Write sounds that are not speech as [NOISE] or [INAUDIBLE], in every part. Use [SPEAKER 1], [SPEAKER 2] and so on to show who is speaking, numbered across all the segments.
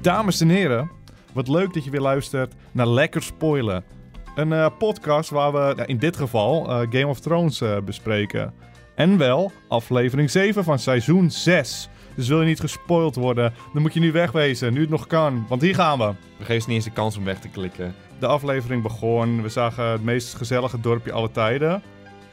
[SPEAKER 1] Dames en heren, wat leuk dat je weer luistert naar Lekker Spoilen. Een eh, podcast waar we nou, in dit geval eh, Game of Thrones eh, bespreken. En wel aflevering 7 van seizoen 6. Dus wil je niet gespoild worden, dan moet je nu wegwezen, nu het nog kan. Want hier gaan we.
[SPEAKER 2] We geven ze niet eens de kans om weg te klikken.
[SPEAKER 1] De aflevering begon, we zagen het meest gezellige dorpje alle tijden.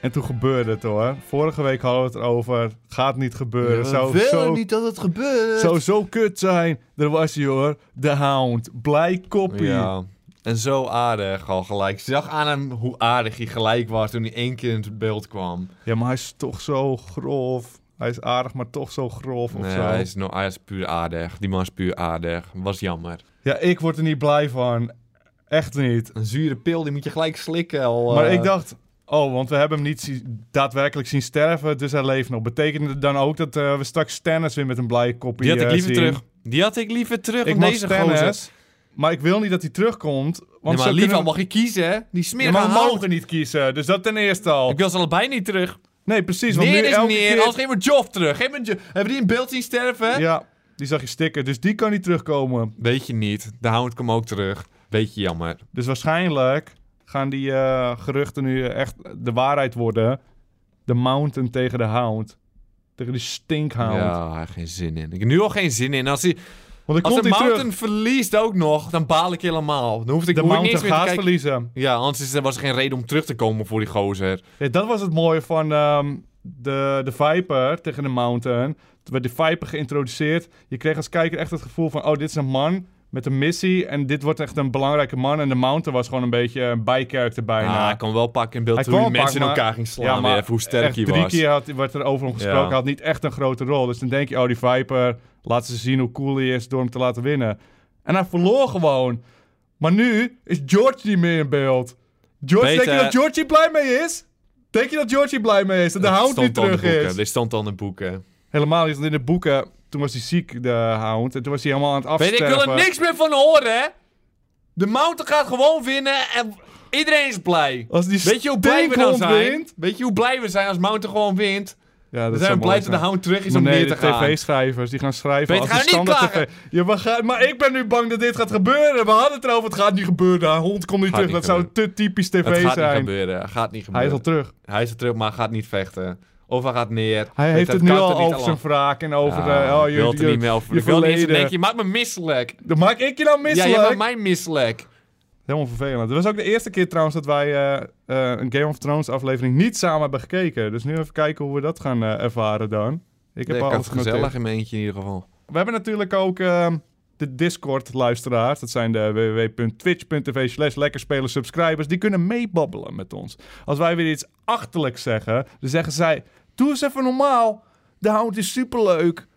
[SPEAKER 1] En toen gebeurde het hoor. Vorige week hadden we het erover. Gaat niet gebeuren. Zo, zo
[SPEAKER 3] niet dat het gebeurt.
[SPEAKER 1] zou zo kut zijn. Er was hij hoor. De Hound. Blij koppie.
[SPEAKER 2] Ja. En zo aardig al gelijk. Ze zag aan hem hoe aardig hij gelijk was toen hij één keer in het beeld kwam.
[SPEAKER 1] Ja, maar hij is toch zo grof. Hij is aardig, maar toch zo grof of
[SPEAKER 2] Nee,
[SPEAKER 1] zo.
[SPEAKER 2] hij is, nou, hij is puur aardig. Die man is puur aardig. Was jammer.
[SPEAKER 1] Ja, ik word er niet blij van. Echt niet.
[SPEAKER 2] Een zure pil, die moet je gelijk slikken al.
[SPEAKER 1] Maar
[SPEAKER 2] eh.
[SPEAKER 1] ik dacht... Oh, want we hebben hem niet zi- daadwerkelijk zien sterven, dus hij leeft nog. Betekent het dan ook dat eh, we straks Stannis weer met een blije kopie
[SPEAKER 2] Die had ik
[SPEAKER 1] eh,
[SPEAKER 2] liever
[SPEAKER 1] zien?
[SPEAKER 2] terug. Die had ik liever terug
[SPEAKER 1] Ik
[SPEAKER 2] dan
[SPEAKER 1] mag
[SPEAKER 2] deze gozer.
[SPEAKER 1] Stannis, maar ik wil niet dat hij terugkomt. Want
[SPEAKER 2] Nee, maar
[SPEAKER 1] zo
[SPEAKER 2] liever
[SPEAKER 1] kunnen we-
[SPEAKER 2] mag je kiezen, hè? Die
[SPEAKER 1] Ja,
[SPEAKER 2] smerige
[SPEAKER 1] maar we
[SPEAKER 2] hout.
[SPEAKER 1] mogen niet kiezen, dus dat ten eerste al.
[SPEAKER 2] Ik wil ze allebei niet terug.
[SPEAKER 1] Nee, precies, want
[SPEAKER 2] Neer
[SPEAKER 1] nu
[SPEAKER 2] is
[SPEAKER 1] elke
[SPEAKER 2] neer.
[SPEAKER 1] keer...
[SPEAKER 2] Anders geef maar Joff terug. Geef maar Joff. Hebben die in beeld zien sterven?
[SPEAKER 1] Ja, die zag je stikken, dus die kan niet terugkomen.
[SPEAKER 2] Weet je niet. De hound kwam ook terug. Weet je jammer.
[SPEAKER 1] Dus waarschijnlijk gaan die eh, geruchten nu echt de waarheid worden. De Mountain tegen de Hound. Tegen die stinkhound.
[SPEAKER 2] Ja, hij heeft geen zin in. Ik heb nu al geen zin in. Als, hij,
[SPEAKER 1] Want dan
[SPEAKER 2] als
[SPEAKER 1] Nou, komt
[SPEAKER 2] de
[SPEAKER 1] hij
[SPEAKER 2] Mountain
[SPEAKER 1] terug.
[SPEAKER 2] verliest ook nog, dan baal ik helemaal. Dan hoef ik,
[SPEAKER 1] De
[SPEAKER 2] hoef ik niks
[SPEAKER 1] Mountain
[SPEAKER 2] meer te
[SPEAKER 1] gaat
[SPEAKER 2] kijken.
[SPEAKER 1] verliezen.
[SPEAKER 2] Ja, anders is er, was er geen reden om terug te komen voor die gozer.
[SPEAKER 1] Ja, dat was het mooie van ehm, de, de Viper tegen de Mountain. Toen werd de Viper geïntroduceerd. Je kreeg als kijker echt het gevoel van... Oh, dit is een man met een missie. En dit wordt echt een belangrijke man. En de Mountain was gewoon een beetje een bijcharacter
[SPEAKER 2] Ja,
[SPEAKER 1] bijna.
[SPEAKER 2] Ah, hij kon wel pakken in beeld
[SPEAKER 1] Hij
[SPEAKER 2] toen die
[SPEAKER 1] kon wel
[SPEAKER 2] mensen in
[SPEAKER 1] pakken,
[SPEAKER 2] elkaar ging slaan.
[SPEAKER 1] Ja, maar
[SPEAKER 2] weer, even hoe sterk
[SPEAKER 1] echt
[SPEAKER 2] hij
[SPEAKER 1] drie
[SPEAKER 2] was.
[SPEAKER 1] keer had, werd er over hem gesproken.
[SPEAKER 2] Ja.
[SPEAKER 1] Hij had niet echt een grote rol. Dus dan denk je, oh, die Viper, laat ze zien hoe cool hij is door hem te laten winnen. En hij verloor gewoon. Maar nu is George niet meer in beeld. George, denk
[SPEAKER 2] Beter-
[SPEAKER 1] je dat George hier blij mee is? Denk je dat George hier blij mee is? Dat de
[SPEAKER 2] Dit
[SPEAKER 1] hound
[SPEAKER 2] stond
[SPEAKER 1] niet
[SPEAKER 2] al in de
[SPEAKER 1] terug is?
[SPEAKER 2] boeken. Dit stond al in de boeken.
[SPEAKER 1] Helemaal niet, want in de boeken, toen was hij ziek, de hound. En toen was hij helemaal aan het
[SPEAKER 2] Weet, ik
[SPEAKER 1] afsterven.
[SPEAKER 2] wil er niks meer van horen, hè? De Mountain gaat gewoon winnen en iedereen is blij.
[SPEAKER 1] Als die
[SPEAKER 2] Weet je hoe blij we nou
[SPEAKER 1] stinkhond
[SPEAKER 2] zijn?
[SPEAKER 1] wint?
[SPEAKER 2] Weet je hoe blij we zijn als Mountain gewoon wint?
[SPEAKER 1] Ja, dat
[SPEAKER 2] We
[SPEAKER 1] zou
[SPEAKER 2] zijn
[SPEAKER 1] mooi
[SPEAKER 2] blij dat de hound terug is
[SPEAKER 1] Maar
[SPEAKER 2] om
[SPEAKER 1] nee,
[SPEAKER 2] neer te
[SPEAKER 1] de
[SPEAKER 2] gaan.
[SPEAKER 1] tv-schrijvers die gaan schrijven
[SPEAKER 2] Peter,
[SPEAKER 1] als
[SPEAKER 2] ga
[SPEAKER 1] een
[SPEAKER 2] je niet
[SPEAKER 1] standaard
[SPEAKER 2] klagen?
[SPEAKER 1] tv. Ja, maar, ga- maar ik ben nu bang dat dit gaat gebeuren. We hadden het erover, het gaat niet gebeuren. Haar hond komt niet
[SPEAKER 2] Gaat
[SPEAKER 1] terug.
[SPEAKER 2] niet
[SPEAKER 1] dat zou te typisch tv
[SPEAKER 2] Het gaat niet
[SPEAKER 1] zijn.
[SPEAKER 2] gebeuren. Gaat niet
[SPEAKER 1] hij
[SPEAKER 2] gebeuren.
[SPEAKER 1] is al terug.
[SPEAKER 2] Hij is er terug, maar gaat niet vechten. Of hij gaat neer.
[SPEAKER 1] Hij
[SPEAKER 2] Weet
[SPEAKER 1] heeft
[SPEAKER 2] dat,
[SPEAKER 1] het nu
[SPEAKER 2] kan
[SPEAKER 1] al
[SPEAKER 2] niet
[SPEAKER 1] over zijn wraak en over
[SPEAKER 2] Ja,
[SPEAKER 1] de... Oh,
[SPEAKER 2] ik
[SPEAKER 1] je,
[SPEAKER 2] wil het
[SPEAKER 1] je,
[SPEAKER 2] er niet meer over.
[SPEAKER 1] je
[SPEAKER 2] Ik wil niet eens
[SPEAKER 1] verleden.
[SPEAKER 2] denken, je maakt me misselijk.
[SPEAKER 1] Dan maak ik je nou
[SPEAKER 2] Ja,
[SPEAKER 1] misselijk.
[SPEAKER 2] jij maakt mij misselijk.
[SPEAKER 1] Helemaal vervelend. Dat was ook de eerste keer trouwens dat wij eh, eh, een Game of Thrones aflevering niet samen hebben gekeken. Dus nu even kijken hoe we dat gaan eh, ervaren dan. Ik heb
[SPEAKER 2] Nee,
[SPEAKER 1] al
[SPEAKER 2] had het
[SPEAKER 1] alles genoteerd.
[SPEAKER 2] gezellig in mijn eentje in ieder geval.
[SPEAKER 1] We hebben natuurlijk ook ehm, de Discord-luisteraars. Dat zijn de www.twitch.tv slash lekkerspelers subscribers. Die kunnen meebabbelen met ons. Als wij weer iets achterlijks zeggen, dan zeggen zij... Doe eens even normaal. De hound is superleuk.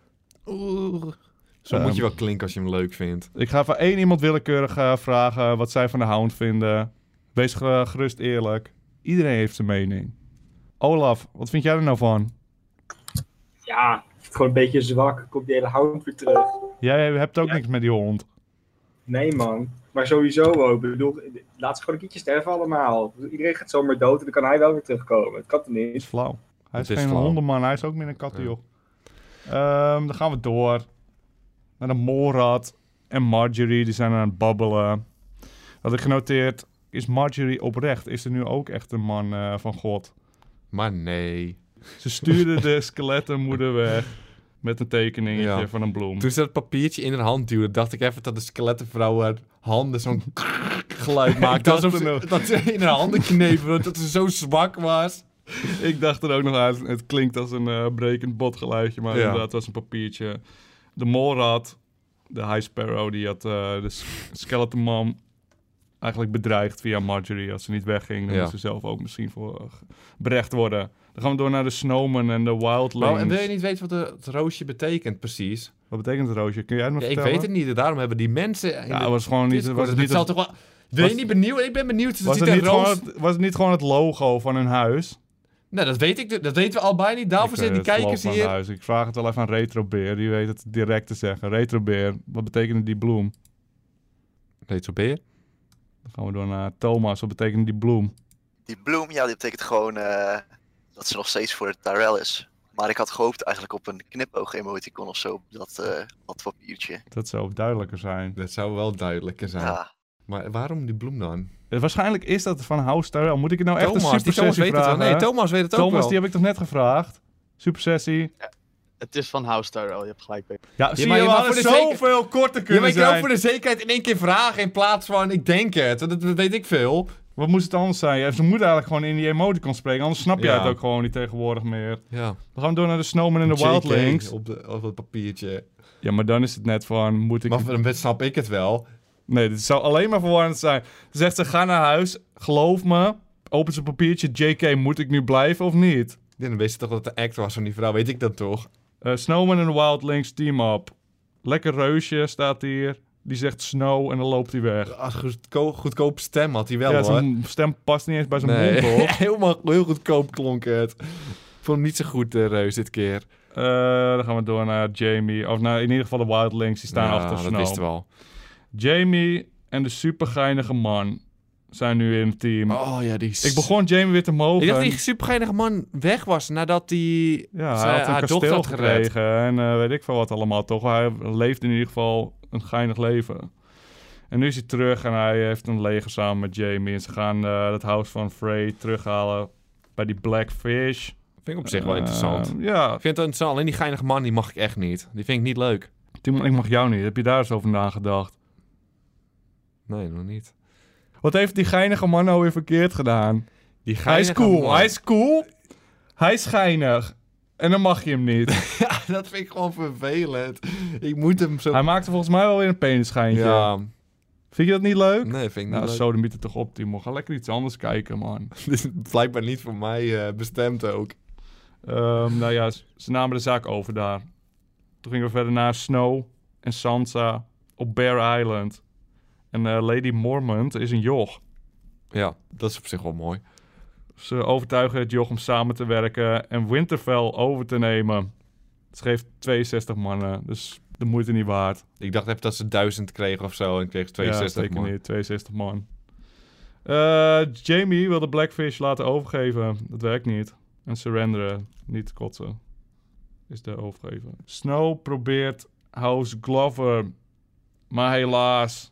[SPEAKER 2] Zo
[SPEAKER 1] Ehm.
[SPEAKER 2] moet je wel klinken als je hem leuk vindt.
[SPEAKER 1] Ik ga van één iemand willekeurig eh, vragen wat zij van de hound vinden. Wees ge- gerust eerlijk. Iedereen heeft zijn mening. Olaf, wat vind jij er nou van?
[SPEAKER 4] Ja, gewoon een beetje zwak. Komt die hele hout weer terug.
[SPEAKER 1] Jij hebt ook niks met die hond.
[SPEAKER 4] Nee, man. Maar sowieso ook. Ik bedoel, laat ze gewoon een keertje sterven allemaal. Iedereen gaat zomaar dood en dan kan hij wel weer terugkomen. Het kan toch
[SPEAKER 1] Hij is
[SPEAKER 4] niet?
[SPEAKER 1] flauw. Hij is,
[SPEAKER 2] Het is
[SPEAKER 1] geen
[SPEAKER 2] flauw.
[SPEAKER 1] hondenman, hij is ook meer een kat,
[SPEAKER 2] Ja.
[SPEAKER 1] joh. Ehm, dan gaan we door. Naar de Morad en Marjorie, die zijn aan het babbelen. Had ik genoteerd, is Marjorie oprecht? Is er nu ook echt een man eh, van God?
[SPEAKER 2] Maar nee.
[SPEAKER 1] Ze
[SPEAKER 2] [LAUGHS]
[SPEAKER 1] stuurde de skelettenmoeder weg met een tekeningetje
[SPEAKER 2] Ja.
[SPEAKER 1] van een bloem.
[SPEAKER 2] Toen ze dat papiertje in haar hand duwde, dacht ik even dat de skelettenvrouw haar handen zo'n [LAUGHS]
[SPEAKER 1] [LAUGHS]
[SPEAKER 2] geluid maakte.
[SPEAKER 1] dacht
[SPEAKER 2] alsof
[SPEAKER 1] het
[SPEAKER 2] ze,
[SPEAKER 1] ook.
[SPEAKER 2] dat ze in haar handen knepen, want dat ze zo zwak was.
[SPEAKER 1] Ik dacht er ook nog aan, het klinkt als een eh, brekend botgeluidje, maar
[SPEAKER 2] Ja.
[SPEAKER 1] inderdaad, het was een papiertje. De Morad, de High Sparrow, die had eh, de s- Skeleton Mom eigenlijk bedreigd via Marjorie. Als ze niet wegging, dan
[SPEAKER 2] Ja.
[SPEAKER 1] moest ze zelf ook misschien voor eh, ge- berecht worden. Dan gaan we door naar de Snowman en de
[SPEAKER 2] Nou,
[SPEAKER 1] Wildlings.
[SPEAKER 2] en wil je niet weten wat het roosje betekent precies?
[SPEAKER 1] Wat betekent het, Roosje? Kun jij het me
[SPEAKER 2] Ja, ik
[SPEAKER 1] vertellen?
[SPEAKER 2] weet het niet. Daarom hebben die mensen. in
[SPEAKER 1] Ja,
[SPEAKER 2] de
[SPEAKER 1] het was gewoon niet...
[SPEAKER 2] Discord-
[SPEAKER 1] Was het
[SPEAKER 2] het
[SPEAKER 1] niet,
[SPEAKER 2] zal
[SPEAKER 1] het,
[SPEAKER 2] toch wel. Ben je
[SPEAKER 1] was-
[SPEAKER 2] niet benieuwd? Ik ben benieuwd. Het
[SPEAKER 1] was,
[SPEAKER 2] ziet
[SPEAKER 1] het
[SPEAKER 2] er
[SPEAKER 1] niet gewoon
[SPEAKER 2] roos.
[SPEAKER 1] het, was het niet gewoon het logo van hun huis?
[SPEAKER 2] Nou, dat weet ik. Dat weten we allebei niet. Daarvoor
[SPEAKER 1] Ik,
[SPEAKER 2] zitten die
[SPEAKER 1] eh, het logo
[SPEAKER 2] kijkers
[SPEAKER 1] van
[SPEAKER 2] hier.
[SPEAKER 1] hun huis. Ik vraag het wel even aan Retrobeer, die weet het direct te zeggen. Retrobeer, wat betekent die bloem?
[SPEAKER 2] Weet zo ben je?
[SPEAKER 1] Dan gaan we door naar Thomas. Wat betekent die bloem?
[SPEAKER 5] Die bloem, ja, die betekent gewoon eh, dat ze nog steeds voor Tyrell is.
[SPEAKER 3] Maar ik had gehoopt eigenlijk op een knipoog-emoticon of zo. op Dat, eh dat papiertje.
[SPEAKER 1] Dat zou duidelijker zijn.
[SPEAKER 2] Dat zou wel duidelijker zijn.
[SPEAKER 3] Ja.
[SPEAKER 2] Maar waarom die bloem dan?
[SPEAKER 1] Eh, Waarschijnlijk is dat van House Terrell. Moet ik het nou echt een
[SPEAKER 2] Thomas, die
[SPEAKER 1] super
[SPEAKER 2] Thomas
[SPEAKER 1] sessie
[SPEAKER 2] weet het wel.
[SPEAKER 1] vragen?
[SPEAKER 2] Nee, Thomas weet het ook
[SPEAKER 1] Thomas,
[SPEAKER 2] wel.
[SPEAKER 1] die heb ik toch net gevraagd? Super sessie.
[SPEAKER 5] Het is van House Tyrell, je hebt gelijk. Peter.
[SPEAKER 1] Ja, zie
[SPEAKER 2] maar
[SPEAKER 1] je,
[SPEAKER 2] je
[SPEAKER 1] we
[SPEAKER 2] mag
[SPEAKER 1] hadden
[SPEAKER 2] voor de zeker-
[SPEAKER 1] zoveel korter
[SPEAKER 2] Ja, maar
[SPEAKER 1] kunnen
[SPEAKER 2] ik kan ook
[SPEAKER 1] zijn.
[SPEAKER 2] voor de zekerheid in één keer vragen in plaats van ik denk het. Dat, dat weet ik veel.
[SPEAKER 1] Wat moest het anders zijn? Ja, Ze moeten eigenlijk gewoon in die emoticon spreken, anders snap jij
[SPEAKER 2] Ja.
[SPEAKER 1] het ook gewoon niet tegenwoordig meer.
[SPEAKER 2] Ja.
[SPEAKER 1] We gaan door naar de Snowman en de Wildlings.
[SPEAKER 2] Op, de, op het papiertje.
[SPEAKER 1] Ja, maar dan is het net van, moet ik...
[SPEAKER 2] Maar dan snap ik het wel.
[SPEAKER 1] Nee, dit zou alleen maar verwarrend zijn. Ze zegt ze, ga naar huis, geloof me. Open ze papiertje, JK, moet ik nu blijven of niet?
[SPEAKER 2] Ja, Dan wist je toch dat het de act was van die vrouw, weet ik dat toch?
[SPEAKER 1] Eh, Snowman en de Wildlings, team up. Lekker reusje staat hier. Die zegt snow en dan loopt hij weg.
[SPEAKER 2] Als goedkoop, goedkoop stem had hij wel
[SPEAKER 1] ja,
[SPEAKER 2] hoor.
[SPEAKER 1] zijn stem past niet eens bij zijn
[SPEAKER 2] Nee.
[SPEAKER 1] mond, hoor.
[SPEAKER 2] [LAUGHS] Helemaal heel goedkoop klonk het. Ik vond hem niet zo goed, eh, Reus, dit keer.
[SPEAKER 1] Eh, dan gaan we door naar Jamie. Of nou, in ieder geval de Wildlings, die staan
[SPEAKER 2] Ja,
[SPEAKER 1] achter
[SPEAKER 2] dat wisten
[SPEAKER 1] Snow.
[SPEAKER 2] we al.
[SPEAKER 1] Jamie en de supergeinige man zijn nu in het team.
[SPEAKER 2] Oh ja, die...
[SPEAKER 1] Ik begon Jamie weer te mogen.
[SPEAKER 2] Ik dacht dat die supergeinige man weg was nadat die
[SPEAKER 1] Ja, hij
[SPEAKER 2] zijn-
[SPEAKER 1] had een
[SPEAKER 2] eh, haar dochter
[SPEAKER 1] kasteel
[SPEAKER 2] had gered.
[SPEAKER 1] gekregen en eh, weet ik veel wat allemaal, toch? Hij leeft in ieder geval een geinig leven. En nu is hij terug en hij heeft een leger samen met Jamie. En ze gaan eh het huis van Frey terughalen bij die Blackfish.
[SPEAKER 2] Vind ik op zich wel interessant.
[SPEAKER 1] Eh, ja,
[SPEAKER 2] Ik vind het interessant, alleen die geinige man, die mag ik echt niet. Die vind ik niet leuk.
[SPEAKER 1] Timon, ik mag jou niet. Heb je daar eens over nagedacht?
[SPEAKER 2] Nee, nog niet.
[SPEAKER 1] Wat heeft die geinige man nou weer verkeerd gedaan?
[SPEAKER 2] Die
[SPEAKER 1] Hij is
[SPEAKER 2] geinige
[SPEAKER 1] cool,
[SPEAKER 2] man-
[SPEAKER 1] hij is cool. Hij is geinig. En dan mag je hem
[SPEAKER 2] [LAUGHS]
[SPEAKER 1] niet.
[SPEAKER 2] Ja, [LAUGHS] dat vind ik gewoon vervelend. Ik moet hem zo...
[SPEAKER 1] hij maakte volgens mij wel weer een penisschijntje.
[SPEAKER 2] Ja,
[SPEAKER 1] Vind je dat niet leuk?
[SPEAKER 2] nee, vind ik niet
[SPEAKER 1] Nou,
[SPEAKER 2] leuk.
[SPEAKER 1] zo de mythe toch op, Timo. Ga lekker iets anders kijken, man.
[SPEAKER 2] [LAUGHS] Dit is blijkbaar niet voor mij eh, bestemd ook.
[SPEAKER 1] Ehm, nou ja, s- ze namen de zaak over daar. Toen gingen we verder naar Snow en Sansa op Bear Island. En eh, Lady Mormont is een joch.
[SPEAKER 2] Ja, dat is op zich wel mooi.
[SPEAKER 1] Ze overtuigen het joch om samen te werken en Winterfell over te nemen. Ze geeft 62 mannen, dus de moeite niet waard.
[SPEAKER 2] Ik dacht even dat ze 1000 kregen of zo en kreeg ze
[SPEAKER 1] ja,
[SPEAKER 2] 62
[SPEAKER 1] zeker
[SPEAKER 2] man.
[SPEAKER 1] niet, 62 man. Eh, Jamie wil de Blackfish laten overgeven. Dat werkt niet. En surrenderen, niet kotsen. Is de overgeven. Snow probeert House Glover. Maar helaas.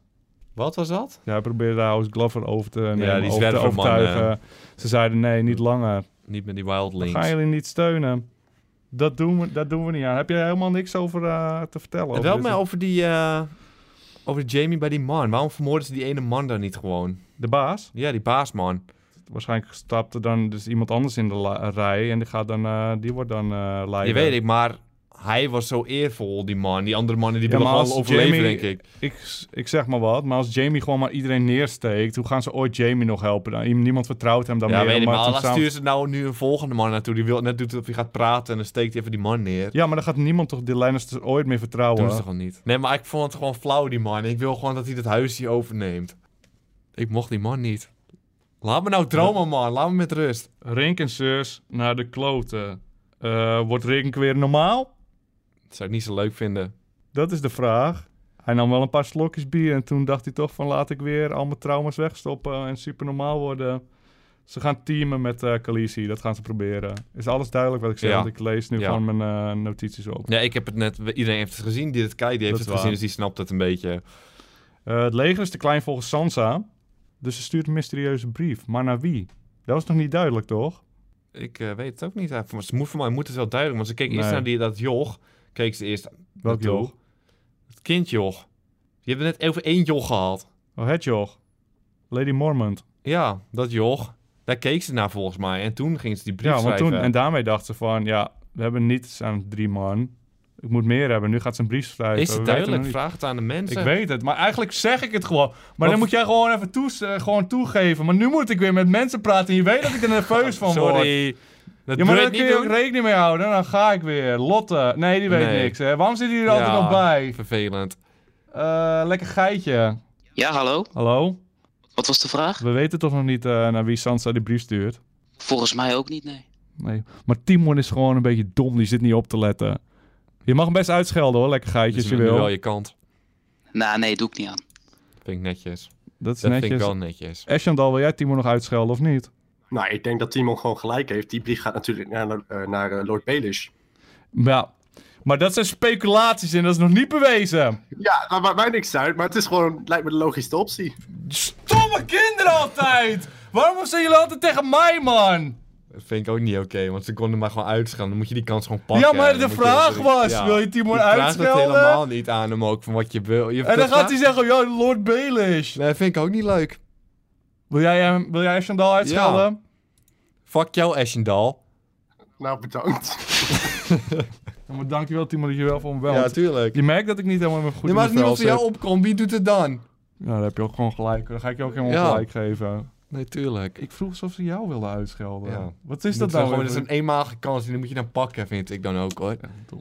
[SPEAKER 2] Wat was dat?
[SPEAKER 1] Ja, hij probeerde House Glover over te nemen.
[SPEAKER 2] die
[SPEAKER 1] over te
[SPEAKER 2] zwerverman,
[SPEAKER 1] overtuigen.
[SPEAKER 2] eh,
[SPEAKER 1] Ze zeiden nee, niet langer.
[SPEAKER 2] Niet met die wildlings.
[SPEAKER 1] Gaan jullie niet steunen? Dat doen we, dat doen we niet aan. Heb jij helemaal niks over eh, te vertellen?
[SPEAKER 2] En
[SPEAKER 1] over
[SPEAKER 2] wel
[SPEAKER 1] dit?
[SPEAKER 2] maar over die... eh, over Jamie bij die man. Waarom vermoorden ze die ene man dan niet gewoon?
[SPEAKER 1] De baas?
[SPEAKER 2] Ja, die baasman.
[SPEAKER 1] waarschijnlijk stapte dan dus iemand anders in de la- rij en die gaat dan, eh, die wordt dan eh leider.
[SPEAKER 2] Je weet ik, maar hij was zo eervol, die man. Die andere mannen, die
[SPEAKER 1] Ja,
[SPEAKER 2] willen
[SPEAKER 1] maar
[SPEAKER 2] gewoon
[SPEAKER 1] als
[SPEAKER 2] overleven,
[SPEAKER 1] Jamie-
[SPEAKER 2] denk ik.
[SPEAKER 1] ik. s- Ik zeg maar wat, maar als Jamie gewoon maar iedereen neersteekt, hoe gaan ze ooit Jamie nog helpen? Nou, iem- niemand vertrouwt hem dan
[SPEAKER 2] Ja,
[SPEAKER 1] meer.
[SPEAKER 2] weet ik,
[SPEAKER 1] omdat
[SPEAKER 2] maar
[SPEAKER 1] ze
[SPEAKER 2] laat
[SPEAKER 1] samen-
[SPEAKER 2] sturen ze nou nu een volgende man naartoe. Die wil net doet of hij gaat praten en dan steekt hij even die man neer.
[SPEAKER 1] Ja, maar dan gaat niemand toch die Lannisters ooit meer vertrouwen.
[SPEAKER 2] Doen ze toch al niet? Nee, maar ik vond het gewoon flauw, die man. Ik wil gewoon dat hij dat huis hier overneemt. Ik mocht die man niet. Laat me nou dromen, man. Laat me met rust.
[SPEAKER 1] Rink en Sus naar de kloten. Eh, wordt Rink weer normaal?
[SPEAKER 2] Dat zou ik niet zo leuk vinden.
[SPEAKER 1] Dat is de vraag. Hij nam wel een paar slokjes bier en toen dacht hij toch van laat ik weer al mijn trauma's wegstoppen en super normaal worden. Ze gaan teamen met eh Khaleesi, dat gaan ze proberen. Is alles duidelijk wat ik zeg?
[SPEAKER 2] Ja.
[SPEAKER 1] Want ik lees nu
[SPEAKER 2] Ja.
[SPEAKER 1] gewoon mijn eh, notities op.
[SPEAKER 2] Ja, ik heb het net... Iedereen heeft het gezien die het kijkt. Die heeft
[SPEAKER 1] Dat
[SPEAKER 2] het
[SPEAKER 1] is
[SPEAKER 2] gezien,
[SPEAKER 1] waar.
[SPEAKER 2] dus die snapt het een beetje.
[SPEAKER 1] Eh, het leger is te klein volgens Sansa, dus ze stuurt een mysterieuze brief. Maar naar wie? Dat was nog niet duidelijk, toch?
[SPEAKER 2] Ik eh, weet het ook niet. eigenlijk. Maar ze moet voor mij moet het wel duidelijk. Want ze keek eerst
[SPEAKER 1] Nee.
[SPEAKER 2] naar die, dat joch. Keek ze eerst...
[SPEAKER 1] Welk
[SPEAKER 2] naartoe.
[SPEAKER 1] joch?
[SPEAKER 2] Het kindjoch. Je hebt net over één joch gehad.
[SPEAKER 1] Oh, het joch. Lady Mormont.
[SPEAKER 2] Ja, dat joch. Daar keek ze naar volgens mij. En toen ging ze die brief
[SPEAKER 1] Ja, want
[SPEAKER 2] schrijven.
[SPEAKER 1] toen, en daarmee dacht ze van, ja, we hebben niets aan drie man. Ik moet meer hebben. Nu gaat ze een brief schrijven.
[SPEAKER 2] Is
[SPEAKER 1] We
[SPEAKER 2] het
[SPEAKER 1] weten nog
[SPEAKER 2] duidelijk?
[SPEAKER 1] niet.
[SPEAKER 2] Vraag het aan de mensen.
[SPEAKER 1] Ik weet het, maar eigenlijk zeg ik het gewoon. Maar
[SPEAKER 2] Wat-
[SPEAKER 1] dan moet jij gewoon even toe, gewoon toegeven. Maar nu moet ik weer met mensen praten en je weet dat ik er nerveus van word.
[SPEAKER 2] Sorry. Dat
[SPEAKER 1] Ja, maar daar
[SPEAKER 2] moet
[SPEAKER 1] kun je ook rekening mee houden. Dan ga ik weer. Lotte. Nee, die weet
[SPEAKER 2] Nee.
[SPEAKER 1] niks. Hè. Waarom zit hij er altijd nog bij?
[SPEAKER 2] Vervelend.
[SPEAKER 1] Eh, lekker geitje.
[SPEAKER 3] Ja, hallo?
[SPEAKER 1] Hallo?
[SPEAKER 3] Wat was de vraag?
[SPEAKER 1] We weten toch nog niet eh, naar wie Sansa die brief stuurt?
[SPEAKER 3] Volgens mij ook niet, nee.
[SPEAKER 1] Nee. Maar Timon is gewoon een beetje dom. Die zit niet op te letten. Je mag hem best uitschelden hoor, lekker geitje
[SPEAKER 2] Dus
[SPEAKER 1] als je
[SPEAKER 2] je nu wel
[SPEAKER 1] wil.
[SPEAKER 2] je kant.
[SPEAKER 3] Nou, nee, doe ik niet aan.
[SPEAKER 2] Vind ik netjes.
[SPEAKER 1] Dat is
[SPEAKER 2] Dat vind ik
[SPEAKER 1] netjes.
[SPEAKER 2] wel netjes.
[SPEAKER 1] Eschandal, wil jij Timon nog uitschelden of niet?
[SPEAKER 6] Nou, ik denk dat Timon gewoon gelijk heeft. Die brief gaat natuurlijk naar, eh, naar eh, Lord Baelish.
[SPEAKER 1] Ja. Maar dat zijn speculaties en dat is nog niet bewezen.
[SPEAKER 6] Ja, dat maakt mij niks uit, maar het is gewoon, lijkt me de logischste optie.
[SPEAKER 1] Stomme kinderen altijd! Waarom zijn jullie altijd tegen mij, man?
[SPEAKER 2] Dat vind ik ook niet oké, want ze konden maar gewoon uitschelden. Dan moet je die kans gewoon pakken.
[SPEAKER 1] Ja, maar
[SPEAKER 2] Dan
[SPEAKER 1] de
[SPEAKER 2] moet je- dus
[SPEAKER 1] vraag was, wil je Timon
[SPEAKER 2] Je vraagt
[SPEAKER 1] uitschelden?
[SPEAKER 2] het helemaal niet aan hem ook, van wat je wil. Je
[SPEAKER 1] En dan
[SPEAKER 2] vraagt-
[SPEAKER 1] gaat hij zeggen, ja, Lord Baelish.
[SPEAKER 2] Nee, vind ik ook niet leuk.
[SPEAKER 1] Wil jij, hem, wil jij Chandal uitschelden?
[SPEAKER 2] Fuck jou, Ashendal.
[SPEAKER 6] Nou, bedankt.
[SPEAKER 1] Ja. Maar dankjewel, Timon, dat je wel voor me belt.
[SPEAKER 2] Ja, tuurlijk.
[SPEAKER 1] je merkt dat ik niet helemaal goed
[SPEAKER 2] Je
[SPEAKER 1] in mijn
[SPEAKER 2] maakt niet
[SPEAKER 1] vel
[SPEAKER 2] op jou
[SPEAKER 1] zit.
[SPEAKER 2] opkomt, wie doet het dan?
[SPEAKER 1] Ja, daar heb je ook gewoon gelijk. Dan ga ik je ook helemaal
[SPEAKER 2] Ja.
[SPEAKER 1] gelijk geven.
[SPEAKER 2] Nee, tuurlijk.
[SPEAKER 1] Ik vroeg alsof ze jou wilden uitschelden.
[SPEAKER 2] Ja.
[SPEAKER 1] Wat is
[SPEAKER 2] Moet
[SPEAKER 1] dat
[SPEAKER 2] gewoon-
[SPEAKER 1] nou? weer
[SPEAKER 2] Dat is
[SPEAKER 1] voor-
[SPEAKER 2] een eenmalige kans en die moet je dan pakken, vind ik dan ook hoor.
[SPEAKER 1] Dom.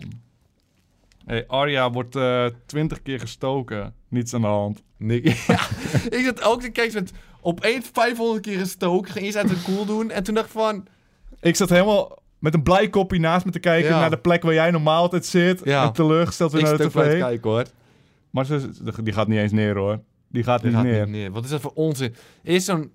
[SPEAKER 1] Hey, Arya wordt eh, twintig keer gestoken. Niets aan de hand.
[SPEAKER 2] Nick, [LAUGHS] ja, ik zat ook te kijken met opeens 500 keer gestoken, ging eerst uit de cool doen en toen dacht ik van,
[SPEAKER 1] Ik zat helemaal met een blij kopje naast me te kijken
[SPEAKER 2] Ja.
[SPEAKER 1] naar de plek waar jij normaal altijd zit.
[SPEAKER 2] Ja.
[SPEAKER 1] En teleurgesteld weer
[SPEAKER 2] ik
[SPEAKER 1] naar
[SPEAKER 2] zit
[SPEAKER 1] de
[SPEAKER 2] ook wel te
[SPEAKER 1] tv.
[SPEAKER 2] kijken hoor.
[SPEAKER 1] Maar ze, die gaat niet eens neer hoor. Die gaat
[SPEAKER 2] Dat
[SPEAKER 1] niet
[SPEAKER 2] gaat
[SPEAKER 1] neer.
[SPEAKER 2] niet neer. Wat is dat voor onzin? Eerst zo'n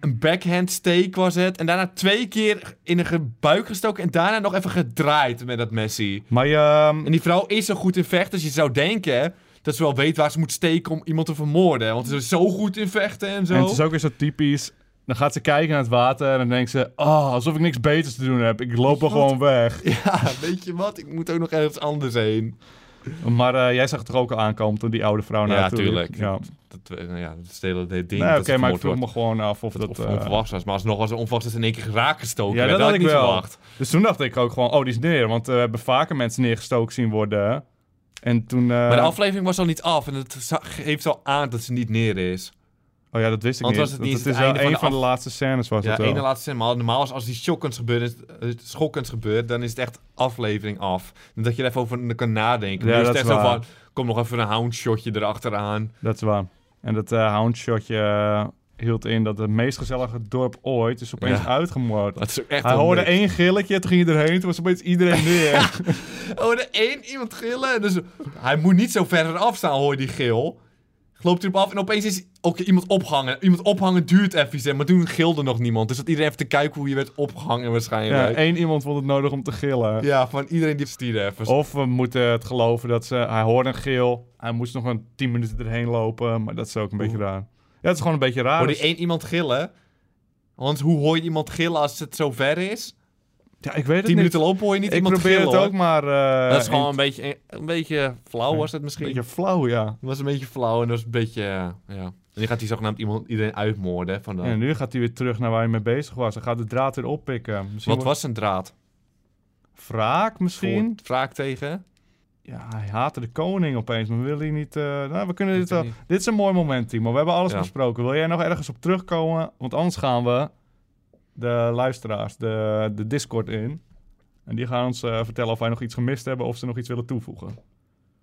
[SPEAKER 2] een backhand steek was het en daarna twee keer in een ge- buik gestoken en daarna nog even gedraaid met dat Messi.
[SPEAKER 1] Maar ehm,
[SPEAKER 2] En die vrouw is zo goed in vechten, dus je zou denken dat ze wel weet waar ze moet steken om iemand te vermoorden. Want ze is zo goed in vechten en zo.
[SPEAKER 1] En het is ook weer zo typisch. Dan gaat ze kijken naar het water en dan denkt ze... Oh, alsof ik niks beters te doen heb. Ik loop er gewoon weg.
[SPEAKER 2] [LAUGHS] Ja, weet je wat? Ik moet ook nog ergens anders heen.
[SPEAKER 1] Maar eh, jij zag het er ook al aankomen toen die oude vrouw naar
[SPEAKER 2] Ja,
[SPEAKER 1] haar toe liep.
[SPEAKER 2] tuurlijk.
[SPEAKER 1] Ja.
[SPEAKER 2] Dat, eh, nou ja, dat is het hele ding.
[SPEAKER 1] Nee, Nou, oké,
[SPEAKER 2] dat ze
[SPEAKER 1] maar ik
[SPEAKER 2] vermoord
[SPEAKER 1] vroeg
[SPEAKER 2] wordt.
[SPEAKER 1] me gewoon af of dat...
[SPEAKER 2] Of
[SPEAKER 1] eh,
[SPEAKER 2] onverwacht was. Maar alsnog was ze onverwacht dat ze in één keer geraakt gestoken
[SPEAKER 1] Ja,
[SPEAKER 2] werd.
[SPEAKER 1] dat had
[SPEAKER 2] had
[SPEAKER 1] ik
[SPEAKER 2] niet
[SPEAKER 1] wel.
[SPEAKER 2] verwacht.
[SPEAKER 1] Dus toen dacht ik ook gewoon, oh, die is neer. Want eh, we hebben vaker mensen neergestoken zien worden. En toen... eh,
[SPEAKER 2] Maar de aflevering was al niet af. En het za- geeft al aan dat ze niet neer is.
[SPEAKER 1] Oh ja, dat wist ik
[SPEAKER 2] Want
[SPEAKER 1] niet.
[SPEAKER 2] was het
[SPEAKER 1] Dat
[SPEAKER 2] niet
[SPEAKER 1] het
[SPEAKER 2] het
[SPEAKER 1] is wel
[SPEAKER 2] einde van
[SPEAKER 1] een
[SPEAKER 2] de
[SPEAKER 1] van de
[SPEAKER 2] af-
[SPEAKER 1] laatste scènes was
[SPEAKER 2] Ja,
[SPEAKER 1] het wel.
[SPEAKER 2] ene laatste zin. Maar normaal is als die shockends gebeurt, eh, schokkends gebeurt, dan is het echt aflevering af. En Dat je er even over kan nadenken.
[SPEAKER 1] Ja,
[SPEAKER 2] Ja, is
[SPEAKER 1] dat
[SPEAKER 2] het echt
[SPEAKER 1] is
[SPEAKER 2] zo
[SPEAKER 1] waar.
[SPEAKER 2] van, kom nog even een houndshotje erachteraan.
[SPEAKER 1] Dat is waar. En dat eh houndshotje eh, hield in dat het meest gezellige dorp ooit is opeens
[SPEAKER 2] Ja.
[SPEAKER 1] uitgemoord.
[SPEAKER 2] Dat is ook echt
[SPEAKER 1] Hij
[SPEAKER 2] wel
[SPEAKER 1] hoorde
[SPEAKER 2] niks.
[SPEAKER 1] één gilletje, toen ging hij erheen, toen was opeens
[SPEAKER 2] [LAUGHS]
[SPEAKER 1] iedereen neer.
[SPEAKER 2] Oh, er één iemand gillen. Dus hij moet niet zo verder afstaan, hoor je die gil. Loopt hij op af en opeens is ook iemand opgehangen. Iemand ophangen duurt even, hè, maar toen gilde nog niemand. Dus dat iedereen even te kijken hoe je werd opgehangen
[SPEAKER 1] ja,
[SPEAKER 2] waarschijnlijk. Ja,
[SPEAKER 1] één iemand vond het nodig om te gillen.
[SPEAKER 2] van iedereen die stierde even.
[SPEAKER 1] Of we moeten het geloven dat ze... Hij hoorde een gil, hij moest nog een tien minuten erheen lopen, maar dat is ook een beetje raar. Ja, het is gewoon een beetje raar. Dus-
[SPEAKER 2] Hoor je één iemand gillen? Want hoe hoor je iemand gillen als het zo ver is?
[SPEAKER 1] Ja, ik weet het
[SPEAKER 2] Tien
[SPEAKER 1] niet.
[SPEAKER 2] minuten lopen hoor je niet
[SPEAKER 1] Ik
[SPEAKER 2] iemand
[SPEAKER 1] probeer
[SPEAKER 2] gillen.
[SPEAKER 1] het ook,
[SPEAKER 2] hoor.
[SPEAKER 1] maar... eh,
[SPEAKER 2] dat is gewoon
[SPEAKER 1] een
[SPEAKER 2] een beetje, een beetje flauw was het misschien.
[SPEAKER 1] beetje flauw, ja.
[SPEAKER 2] Dat was een beetje flauw en dat was een beetje, eh, ja. En nu gaat hij zogenaamd iemand, iedereen uitmoorden. hè, Van, eh,
[SPEAKER 1] En nu gaat hij weer terug naar waar hij mee bezig was. Hij gaat de draad weer oppikken. Misschien
[SPEAKER 2] Wat was een draad?
[SPEAKER 1] wordt- Wraak misschien?
[SPEAKER 2] Voor- Wraak tegen?
[SPEAKER 1] Ja, hij haatte de koning opeens, maar wil hij niet... eh, Nou, we kunnen
[SPEAKER 2] Weet
[SPEAKER 1] dit
[SPEAKER 2] ik
[SPEAKER 1] wel...
[SPEAKER 2] niet.
[SPEAKER 1] Dit is een mooi moment, Timo. We hebben alles
[SPEAKER 2] Ja.
[SPEAKER 1] besproken. Wil jij nog ergens op terugkomen? Want anders gaan we de luisteraars, de, de Discord in. En die gaan ons eh, vertellen of wij nog iets gemist hebben of ze nog iets willen toevoegen.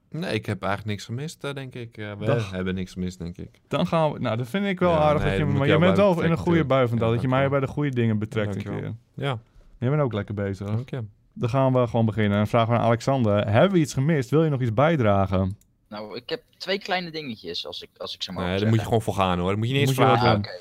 [SPEAKER 2] Nee, ik heb eigenlijk niks gemist, eh, denk ik. Eh, we
[SPEAKER 1] Dag.
[SPEAKER 2] hebben niks gemist, denk ik.
[SPEAKER 1] Dan gaan we... Nou, dat vind ik wel
[SPEAKER 2] Ja,
[SPEAKER 1] aardig.
[SPEAKER 2] nee,
[SPEAKER 1] dat je,
[SPEAKER 2] dan moet
[SPEAKER 1] maar
[SPEAKER 2] ik
[SPEAKER 1] jij
[SPEAKER 2] jou bij
[SPEAKER 1] bent wel in een
[SPEAKER 2] betrekken,
[SPEAKER 1] goede bui vandaag.
[SPEAKER 2] Ja,
[SPEAKER 1] dat je mij bij
[SPEAKER 2] dankjewel.
[SPEAKER 1] de goede dingen betrekt een
[SPEAKER 2] dankjewel.
[SPEAKER 1] keer.
[SPEAKER 2] Ja,
[SPEAKER 1] Jij bent ook lekker bezig.
[SPEAKER 2] dank je.
[SPEAKER 1] Dan gaan we gewoon beginnen. Dan vragen we aan Alexander. Hebben we iets gemist? Wil je nog iets bijdragen?
[SPEAKER 7] Nou, ik heb twee kleine dingetjes, als ik, als ik ze mag
[SPEAKER 2] Nee, daar
[SPEAKER 7] zeggen.
[SPEAKER 2] moet je gewoon voor gaan, hoor. Dat moet je niet eens
[SPEAKER 1] Moet je wel
[SPEAKER 2] vragen.
[SPEAKER 7] Ah, oké.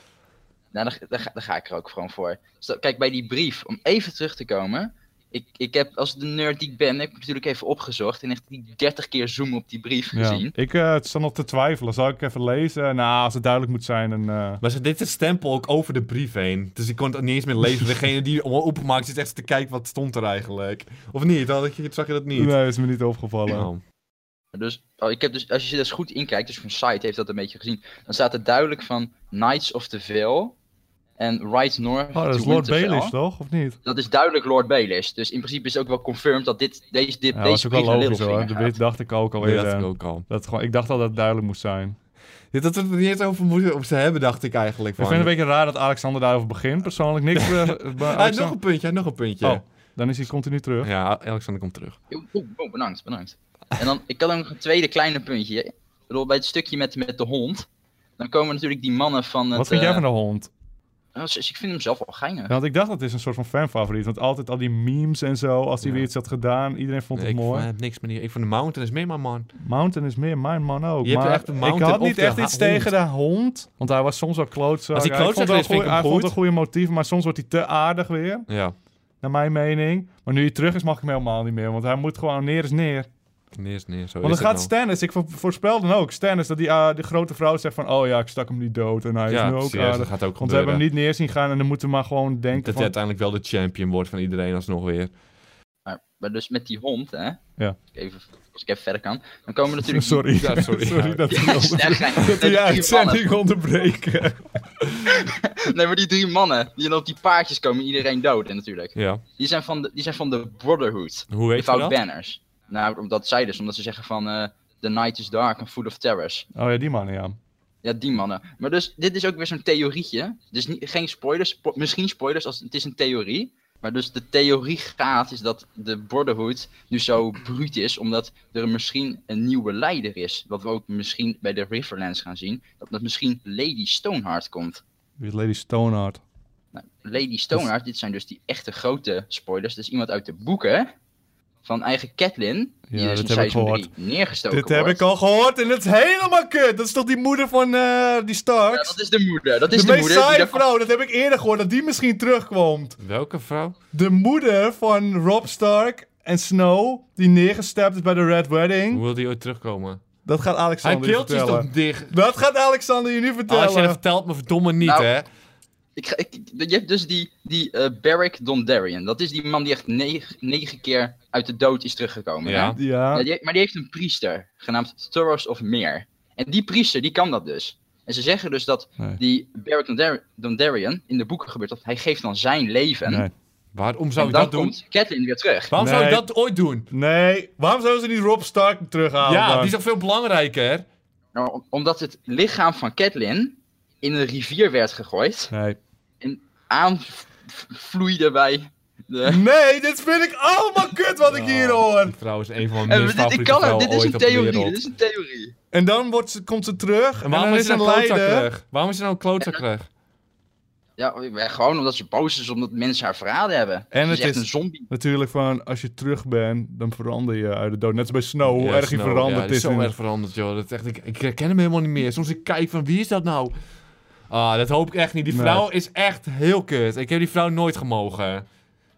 [SPEAKER 7] Nou, daar, daar, ga- daar ga ik er ook gewoon voor. Dus dat- kijk, bij die brief, om even terug te komen. Ik, ik heb, als de nerd die ik ben, heb ik natuurlijk even opgezocht. En echt die 30 keer zoom op die brief gezien.
[SPEAKER 1] Ik eh sta nog te twijfelen. Zal ik even lezen? Nou, als het duidelijk moet zijn. En, eh,
[SPEAKER 2] Maar ze- dit is het stempel ook over de brief heen. Dus ik kon het niet eens meer lezen. Degene die hem openmaakt zit echt te kijken wat stond er eigenlijk. Of niet? Dan had je- zag je dat niet.
[SPEAKER 1] Nee, is me niet opgevallen.
[SPEAKER 2] Oh.
[SPEAKER 7] Dus, oh, ik heb dus, als je er dus goed in kijkt, dus mijn site heeft dat een beetje gezien. Dan staat er duidelijk van Knights of the Vale. En Right North
[SPEAKER 1] Oh, dat is
[SPEAKER 7] to
[SPEAKER 1] Lord
[SPEAKER 7] Winterfell.
[SPEAKER 1] Baelish, toch? Of niet?
[SPEAKER 7] Dat is duidelijk Lord Baelish. Dus in principe is het ook wel confirmed dat dit, deze, dit,
[SPEAKER 1] Ja, dat is
[SPEAKER 7] deze
[SPEAKER 1] ook wel
[SPEAKER 7] brief naar
[SPEAKER 1] logisch
[SPEAKER 7] Littlefinger
[SPEAKER 1] hoor. Dat
[SPEAKER 7] gaat.
[SPEAKER 1] weet- dacht ik ook al
[SPEAKER 2] Nee, dat
[SPEAKER 1] eerder.
[SPEAKER 2] had ik
[SPEAKER 1] dat
[SPEAKER 2] ook al.
[SPEAKER 1] het gewoon, ik dacht al dat het duidelijk moest zijn.
[SPEAKER 2] Dit had we het niet eens over moeten over ze hebben, dacht ik eigenlijk.
[SPEAKER 1] Ik vind
[SPEAKER 2] van.
[SPEAKER 1] het een beetje raar dat Alexander daarover begint. Persoonlijk
[SPEAKER 2] [LAUGHS]
[SPEAKER 1] niks. eh, bij
[SPEAKER 2] Hij heeft
[SPEAKER 1] Alexander-
[SPEAKER 2] Ah, nog een puntje, hij heeft nog een puntje.
[SPEAKER 1] Oh, dan is hij continu terug.
[SPEAKER 2] Ja, Alexander komt terug.
[SPEAKER 7] Oeh, oeh, oeh, bedankt, bedankt. En dan, ik had ook nog een tweede kleine puntje. Ik bedoel, bij het stukje met, met de hond. Dan komen natuurlijk die mannen van het...
[SPEAKER 1] Wat vind jij
[SPEAKER 7] eh,
[SPEAKER 1] van de hond?
[SPEAKER 7] nou, s- ik vind hem zelf wel geinig.
[SPEAKER 1] Want ik dacht dat is een soort van fanfavoriet. Want altijd al die memes en zo. Als hij
[SPEAKER 2] Ja.
[SPEAKER 1] weer iets had gedaan, iedereen vond
[SPEAKER 2] Nee,
[SPEAKER 1] het
[SPEAKER 2] ik
[SPEAKER 1] mooi.
[SPEAKER 2] vond- heb niks meer. Ik vond de mountain is meer mijn man.
[SPEAKER 1] Mountain is meer mijn man ook.
[SPEAKER 2] Je hebt
[SPEAKER 1] maar
[SPEAKER 2] echt een
[SPEAKER 1] ik
[SPEAKER 2] mountain
[SPEAKER 1] had
[SPEAKER 2] of
[SPEAKER 1] niet
[SPEAKER 2] de
[SPEAKER 1] echt
[SPEAKER 2] ha-
[SPEAKER 1] iets
[SPEAKER 2] hond.
[SPEAKER 1] tegen de hond. Want hij was soms wel klootzak.
[SPEAKER 2] Als hij
[SPEAKER 1] Hij vond
[SPEAKER 2] klootzak
[SPEAKER 1] wel
[SPEAKER 2] is, vind ik
[SPEAKER 1] goeie-
[SPEAKER 2] hem
[SPEAKER 1] Hij vond
[SPEAKER 2] goed.
[SPEAKER 1] een goede motief, maar soms wordt hij te aardig weer.
[SPEAKER 2] Ja.
[SPEAKER 1] naar mijn mening. Maar nu hij terug is, mag ik hem helemaal niet meer. Want hij moet gewoon neer is neer.
[SPEAKER 2] Nee, is nee, zo
[SPEAKER 1] Want
[SPEAKER 2] is
[SPEAKER 1] dan gaat
[SPEAKER 2] het
[SPEAKER 1] Stannis, ik vo- voorspel dan ook, Stannis, dat die eh, de grote vrouw zegt van, oh ja, ik stak hem niet dood. En hij
[SPEAKER 2] nou. Ja,
[SPEAKER 1] is nu ook
[SPEAKER 2] serieus, dat
[SPEAKER 1] aardig.
[SPEAKER 2] gaat ook
[SPEAKER 1] Want we hebben
[SPEAKER 2] gebeuren.
[SPEAKER 1] hem niet neer zien gaan en dan moeten we maar gewoon denken
[SPEAKER 2] Dat
[SPEAKER 1] van...
[SPEAKER 2] hij uiteindelijk wel de champion wordt van iedereen alsnog weer.
[SPEAKER 7] Maar, maar dus met die hond, hè?
[SPEAKER 1] Ja.
[SPEAKER 7] Even, als ik even verder kan. Dan komen we
[SPEAKER 1] [LAUGHS]
[SPEAKER 7] natuurlijk... die-
[SPEAKER 1] [LAUGHS] Sorry.
[SPEAKER 2] Ja, sorry. Ja.
[SPEAKER 7] [LAUGHS]
[SPEAKER 1] dat,
[SPEAKER 7] Ja, snap jij. Nee,
[SPEAKER 1] [LAUGHS] dat we
[SPEAKER 7] die
[SPEAKER 1] je
[SPEAKER 7] drie mannen.
[SPEAKER 1] uitzending onderbreken. [LAUGHS]
[SPEAKER 7] Nee, maar die drie mannen die dan op die paardjes komen iedereen dood natuurlijk.
[SPEAKER 2] Ja.
[SPEAKER 7] Die zijn van de, die zijn van de Brotherhood.
[SPEAKER 2] Hoe
[SPEAKER 7] De
[SPEAKER 2] weet je
[SPEAKER 7] Fout
[SPEAKER 2] dat?
[SPEAKER 7] Banners. Nou, omdat zij dus, omdat ze zeggen van... eh, The night is dark and full of terrors.
[SPEAKER 1] Oh ja, die man, ja.
[SPEAKER 7] Ja, die mannen. Maar dus, dit is ook weer zo'n theorietje. Dus niet, geen spoilers. spo- misschien spoilers, als, het is een theorie. Maar dus de theorie gaat, is dat de Brotherhood nu zo bruut is, omdat er misschien een nieuwe leider is. Wat we ook misschien bij de Riverlands gaan zien. Dat, dat misschien Lady Stoneheart komt.
[SPEAKER 1] Wie is Lady Stoneheart?
[SPEAKER 7] Nou, Lady Stoneheart, dit zijn dus die echte grote spoilers. Dus iemand uit de boeken van eigen Catelyn. Die
[SPEAKER 1] Ja,
[SPEAKER 7] dus
[SPEAKER 1] dit
[SPEAKER 7] in
[SPEAKER 1] heb ik
[SPEAKER 7] seizoen
[SPEAKER 1] gehoord.
[SPEAKER 7] 3 neergestoken
[SPEAKER 1] Dit heb
[SPEAKER 7] wordt.
[SPEAKER 1] ik al gehoord en het is helemaal kut. Dat is toch die moeder van eh, die
[SPEAKER 7] Ja,
[SPEAKER 1] Starks?
[SPEAKER 7] dat is de moeder. Dat is
[SPEAKER 1] de,
[SPEAKER 7] de,
[SPEAKER 1] meest
[SPEAKER 7] moeder. die
[SPEAKER 1] saaie
[SPEAKER 7] daar-
[SPEAKER 1] vrouw, dat heb ik eerder gehoord, dat die misschien terugkomt.
[SPEAKER 2] Welke vrouw?
[SPEAKER 1] De moeder van Rob Stark en Snow, die neergestapt is bij de Red Wedding.
[SPEAKER 2] Hoe wil die ooit terugkomen?
[SPEAKER 1] Dat gaat
[SPEAKER 2] Hij
[SPEAKER 1] Alexander je
[SPEAKER 2] keeltje is
[SPEAKER 1] vertellen.
[SPEAKER 2] toch dicht? Oh,
[SPEAKER 1] Dat gaat Alexander je nu vertellen.
[SPEAKER 2] Als je dat vertelt, me verdomme niet,
[SPEAKER 7] Nou,
[SPEAKER 2] hè?
[SPEAKER 7] Ik ga, ik, je hebt dus die, die eh Barrick Dondarrion. Dat is die man die echt negen, negen keer uit de dood is teruggekomen. hè?
[SPEAKER 2] Ja.
[SPEAKER 1] Ja,
[SPEAKER 7] Ja, die- maar die heeft een priester, genaamd Thoros of Meer. En die priester, die kan dat dus. En ze zeggen dus dat
[SPEAKER 1] Nee.
[SPEAKER 7] die Barrick Dondar- Dondarrion, in de boeken gebeurt dat, hij geeft dan zijn leven.
[SPEAKER 1] Nee.
[SPEAKER 2] Waarom zou
[SPEAKER 7] en
[SPEAKER 2] je
[SPEAKER 7] dan
[SPEAKER 2] dat doen?
[SPEAKER 7] komt Catelyn weer terug.
[SPEAKER 2] Waarom zou je
[SPEAKER 1] Nee.
[SPEAKER 2] dat ooit doen?
[SPEAKER 1] nee. Waarom zouden ze niet Rob Stark terughalen?
[SPEAKER 2] ja,
[SPEAKER 1] dan?
[SPEAKER 2] die is toch veel belangrijker?
[SPEAKER 7] Nou, om- omdat het lichaam van Catelyn in een rivier werd gegooid,
[SPEAKER 1] Nee.
[SPEAKER 7] aanvloeide bij de...
[SPEAKER 1] Nee, dit vind ik allemaal kut wat ik hier hoor.
[SPEAKER 2] Die vrouw is een van
[SPEAKER 7] [LAUGHS]
[SPEAKER 2] mijn
[SPEAKER 7] En
[SPEAKER 2] minst
[SPEAKER 7] Eh, dit, ik
[SPEAKER 2] favoriete
[SPEAKER 7] kan het,
[SPEAKER 2] vrouwen
[SPEAKER 7] dit is
[SPEAKER 2] ooit
[SPEAKER 7] een
[SPEAKER 2] op de
[SPEAKER 7] theorie, dus. dit
[SPEAKER 2] wereld.
[SPEAKER 7] is een theorie.
[SPEAKER 1] En dan wordt ze, komt ze terug.
[SPEAKER 2] En
[SPEAKER 1] En
[SPEAKER 2] waarom is
[SPEAKER 1] dan is
[SPEAKER 2] ze
[SPEAKER 1] een
[SPEAKER 2] nou een
[SPEAKER 1] leider.
[SPEAKER 2] klootzakkerig? Waarom is ze nou een klootzakkerig?
[SPEAKER 7] Ja, eh, gewoon omdat ze boos is omdat mensen haar verraden hebben.
[SPEAKER 1] En
[SPEAKER 7] ze
[SPEAKER 1] het
[SPEAKER 7] is echt
[SPEAKER 1] is-
[SPEAKER 7] een zombie.
[SPEAKER 1] Natuurlijk van, als je terug bent, dan verander je uit de dood. Net als bij Snow, hoe
[SPEAKER 2] Ja,
[SPEAKER 1] erg hij
[SPEAKER 2] Snow,
[SPEAKER 1] veranderd
[SPEAKER 2] nou, ja, die
[SPEAKER 1] is.
[SPEAKER 2] Zo
[SPEAKER 1] in-
[SPEAKER 2] erg veranderd, joh. Dat is echt, ik, ik herken hem helemaal niet meer. Soms ik kijk van, wie is dat nou? Ah, dat hoop ik echt niet. Die
[SPEAKER 1] Nee.
[SPEAKER 2] vrouw is echt heel kut. Ik heb die vrouw nooit gemogen.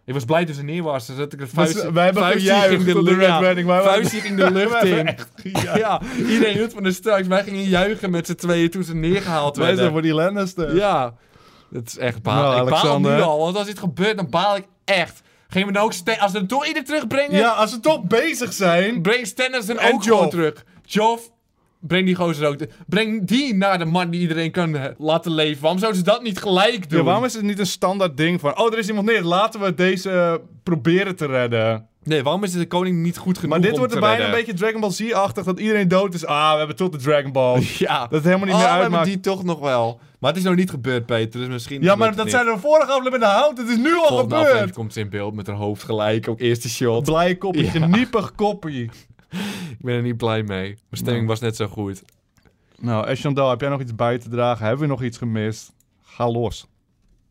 [SPEAKER 2] Ik was blij toen ze neer was. Zodat ik de
[SPEAKER 1] Dus
[SPEAKER 2] vuist,
[SPEAKER 1] wij hebben
[SPEAKER 2] vuistje
[SPEAKER 1] gejuicht tot de
[SPEAKER 2] lu- ja,
[SPEAKER 1] Red Wedding. maar wij-
[SPEAKER 2] vuistje ging de lucht
[SPEAKER 1] [LAUGHS] wij hebben
[SPEAKER 2] in.
[SPEAKER 1] echt gejuicht.
[SPEAKER 2] [LAUGHS] Ja, iedereen hield van de straks. Wij gingen juichen met z'n tweeën toen ze neergehaald
[SPEAKER 1] Wij zijn
[SPEAKER 2] werden.
[SPEAKER 1] voor die Lannister.
[SPEAKER 2] Ja, dat is echt baal.
[SPEAKER 1] Nou,
[SPEAKER 2] ik baal nu
[SPEAKER 1] Alexander.
[SPEAKER 2] al, want als dit gebeurt, dan baal ik echt. Geen we nou ook Stan- als we hem toch ieder terugbrengen,
[SPEAKER 1] Ja, als ze toch bezig zijn.
[SPEAKER 2] breng Stennis hem
[SPEAKER 1] En
[SPEAKER 2] ook gewoon
[SPEAKER 1] Joff.
[SPEAKER 2] terug. Joff, breng die gozer ook. te- Breng die naar de man die iedereen kan eh, laten leven. Waarom zouden ze dat niet gelijk doen?
[SPEAKER 1] Ja, waarom is het niet een standaard ding van, oh, er is iemand neer, laten we deze eh, proberen te redden.
[SPEAKER 2] Nee, waarom is de koning niet goed genoeg
[SPEAKER 1] Maar dit
[SPEAKER 2] om
[SPEAKER 1] wordt
[SPEAKER 2] te
[SPEAKER 1] er bijna een
[SPEAKER 2] redden?
[SPEAKER 1] beetje Dragon Ball Z-achtig, dat iedereen dood is. Ah, we hebben tot de Dragon Ball.
[SPEAKER 2] [LAUGHS] Ja.
[SPEAKER 1] Dat het helemaal niet
[SPEAKER 2] Oh,
[SPEAKER 1] meer
[SPEAKER 2] we hebben
[SPEAKER 1] uitmaakt.
[SPEAKER 2] die toch nog wel. Maar het is nog niet gebeurd, Peter. Dus misschien...
[SPEAKER 1] Ja, maar
[SPEAKER 2] gebeurt
[SPEAKER 1] dat
[SPEAKER 2] het
[SPEAKER 1] zijn
[SPEAKER 2] niet.
[SPEAKER 1] er vorige aflevering met de hout. Het is nu al
[SPEAKER 2] Volgende aflevering
[SPEAKER 1] gebeurd.
[SPEAKER 2] komt ze in beeld met haar hoofd gelijk. Ook eerste shot.
[SPEAKER 1] Blij koppie, geniepig koppie.
[SPEAKER 2] [LAUGHS] Ik ben er niet blij mee. Mijn stemming was net zo goed.
[SPEAKER 1] Nou, Eschandel, heb jij nog iets bij te dragen? Hebben we nog iets gemist? Ga los.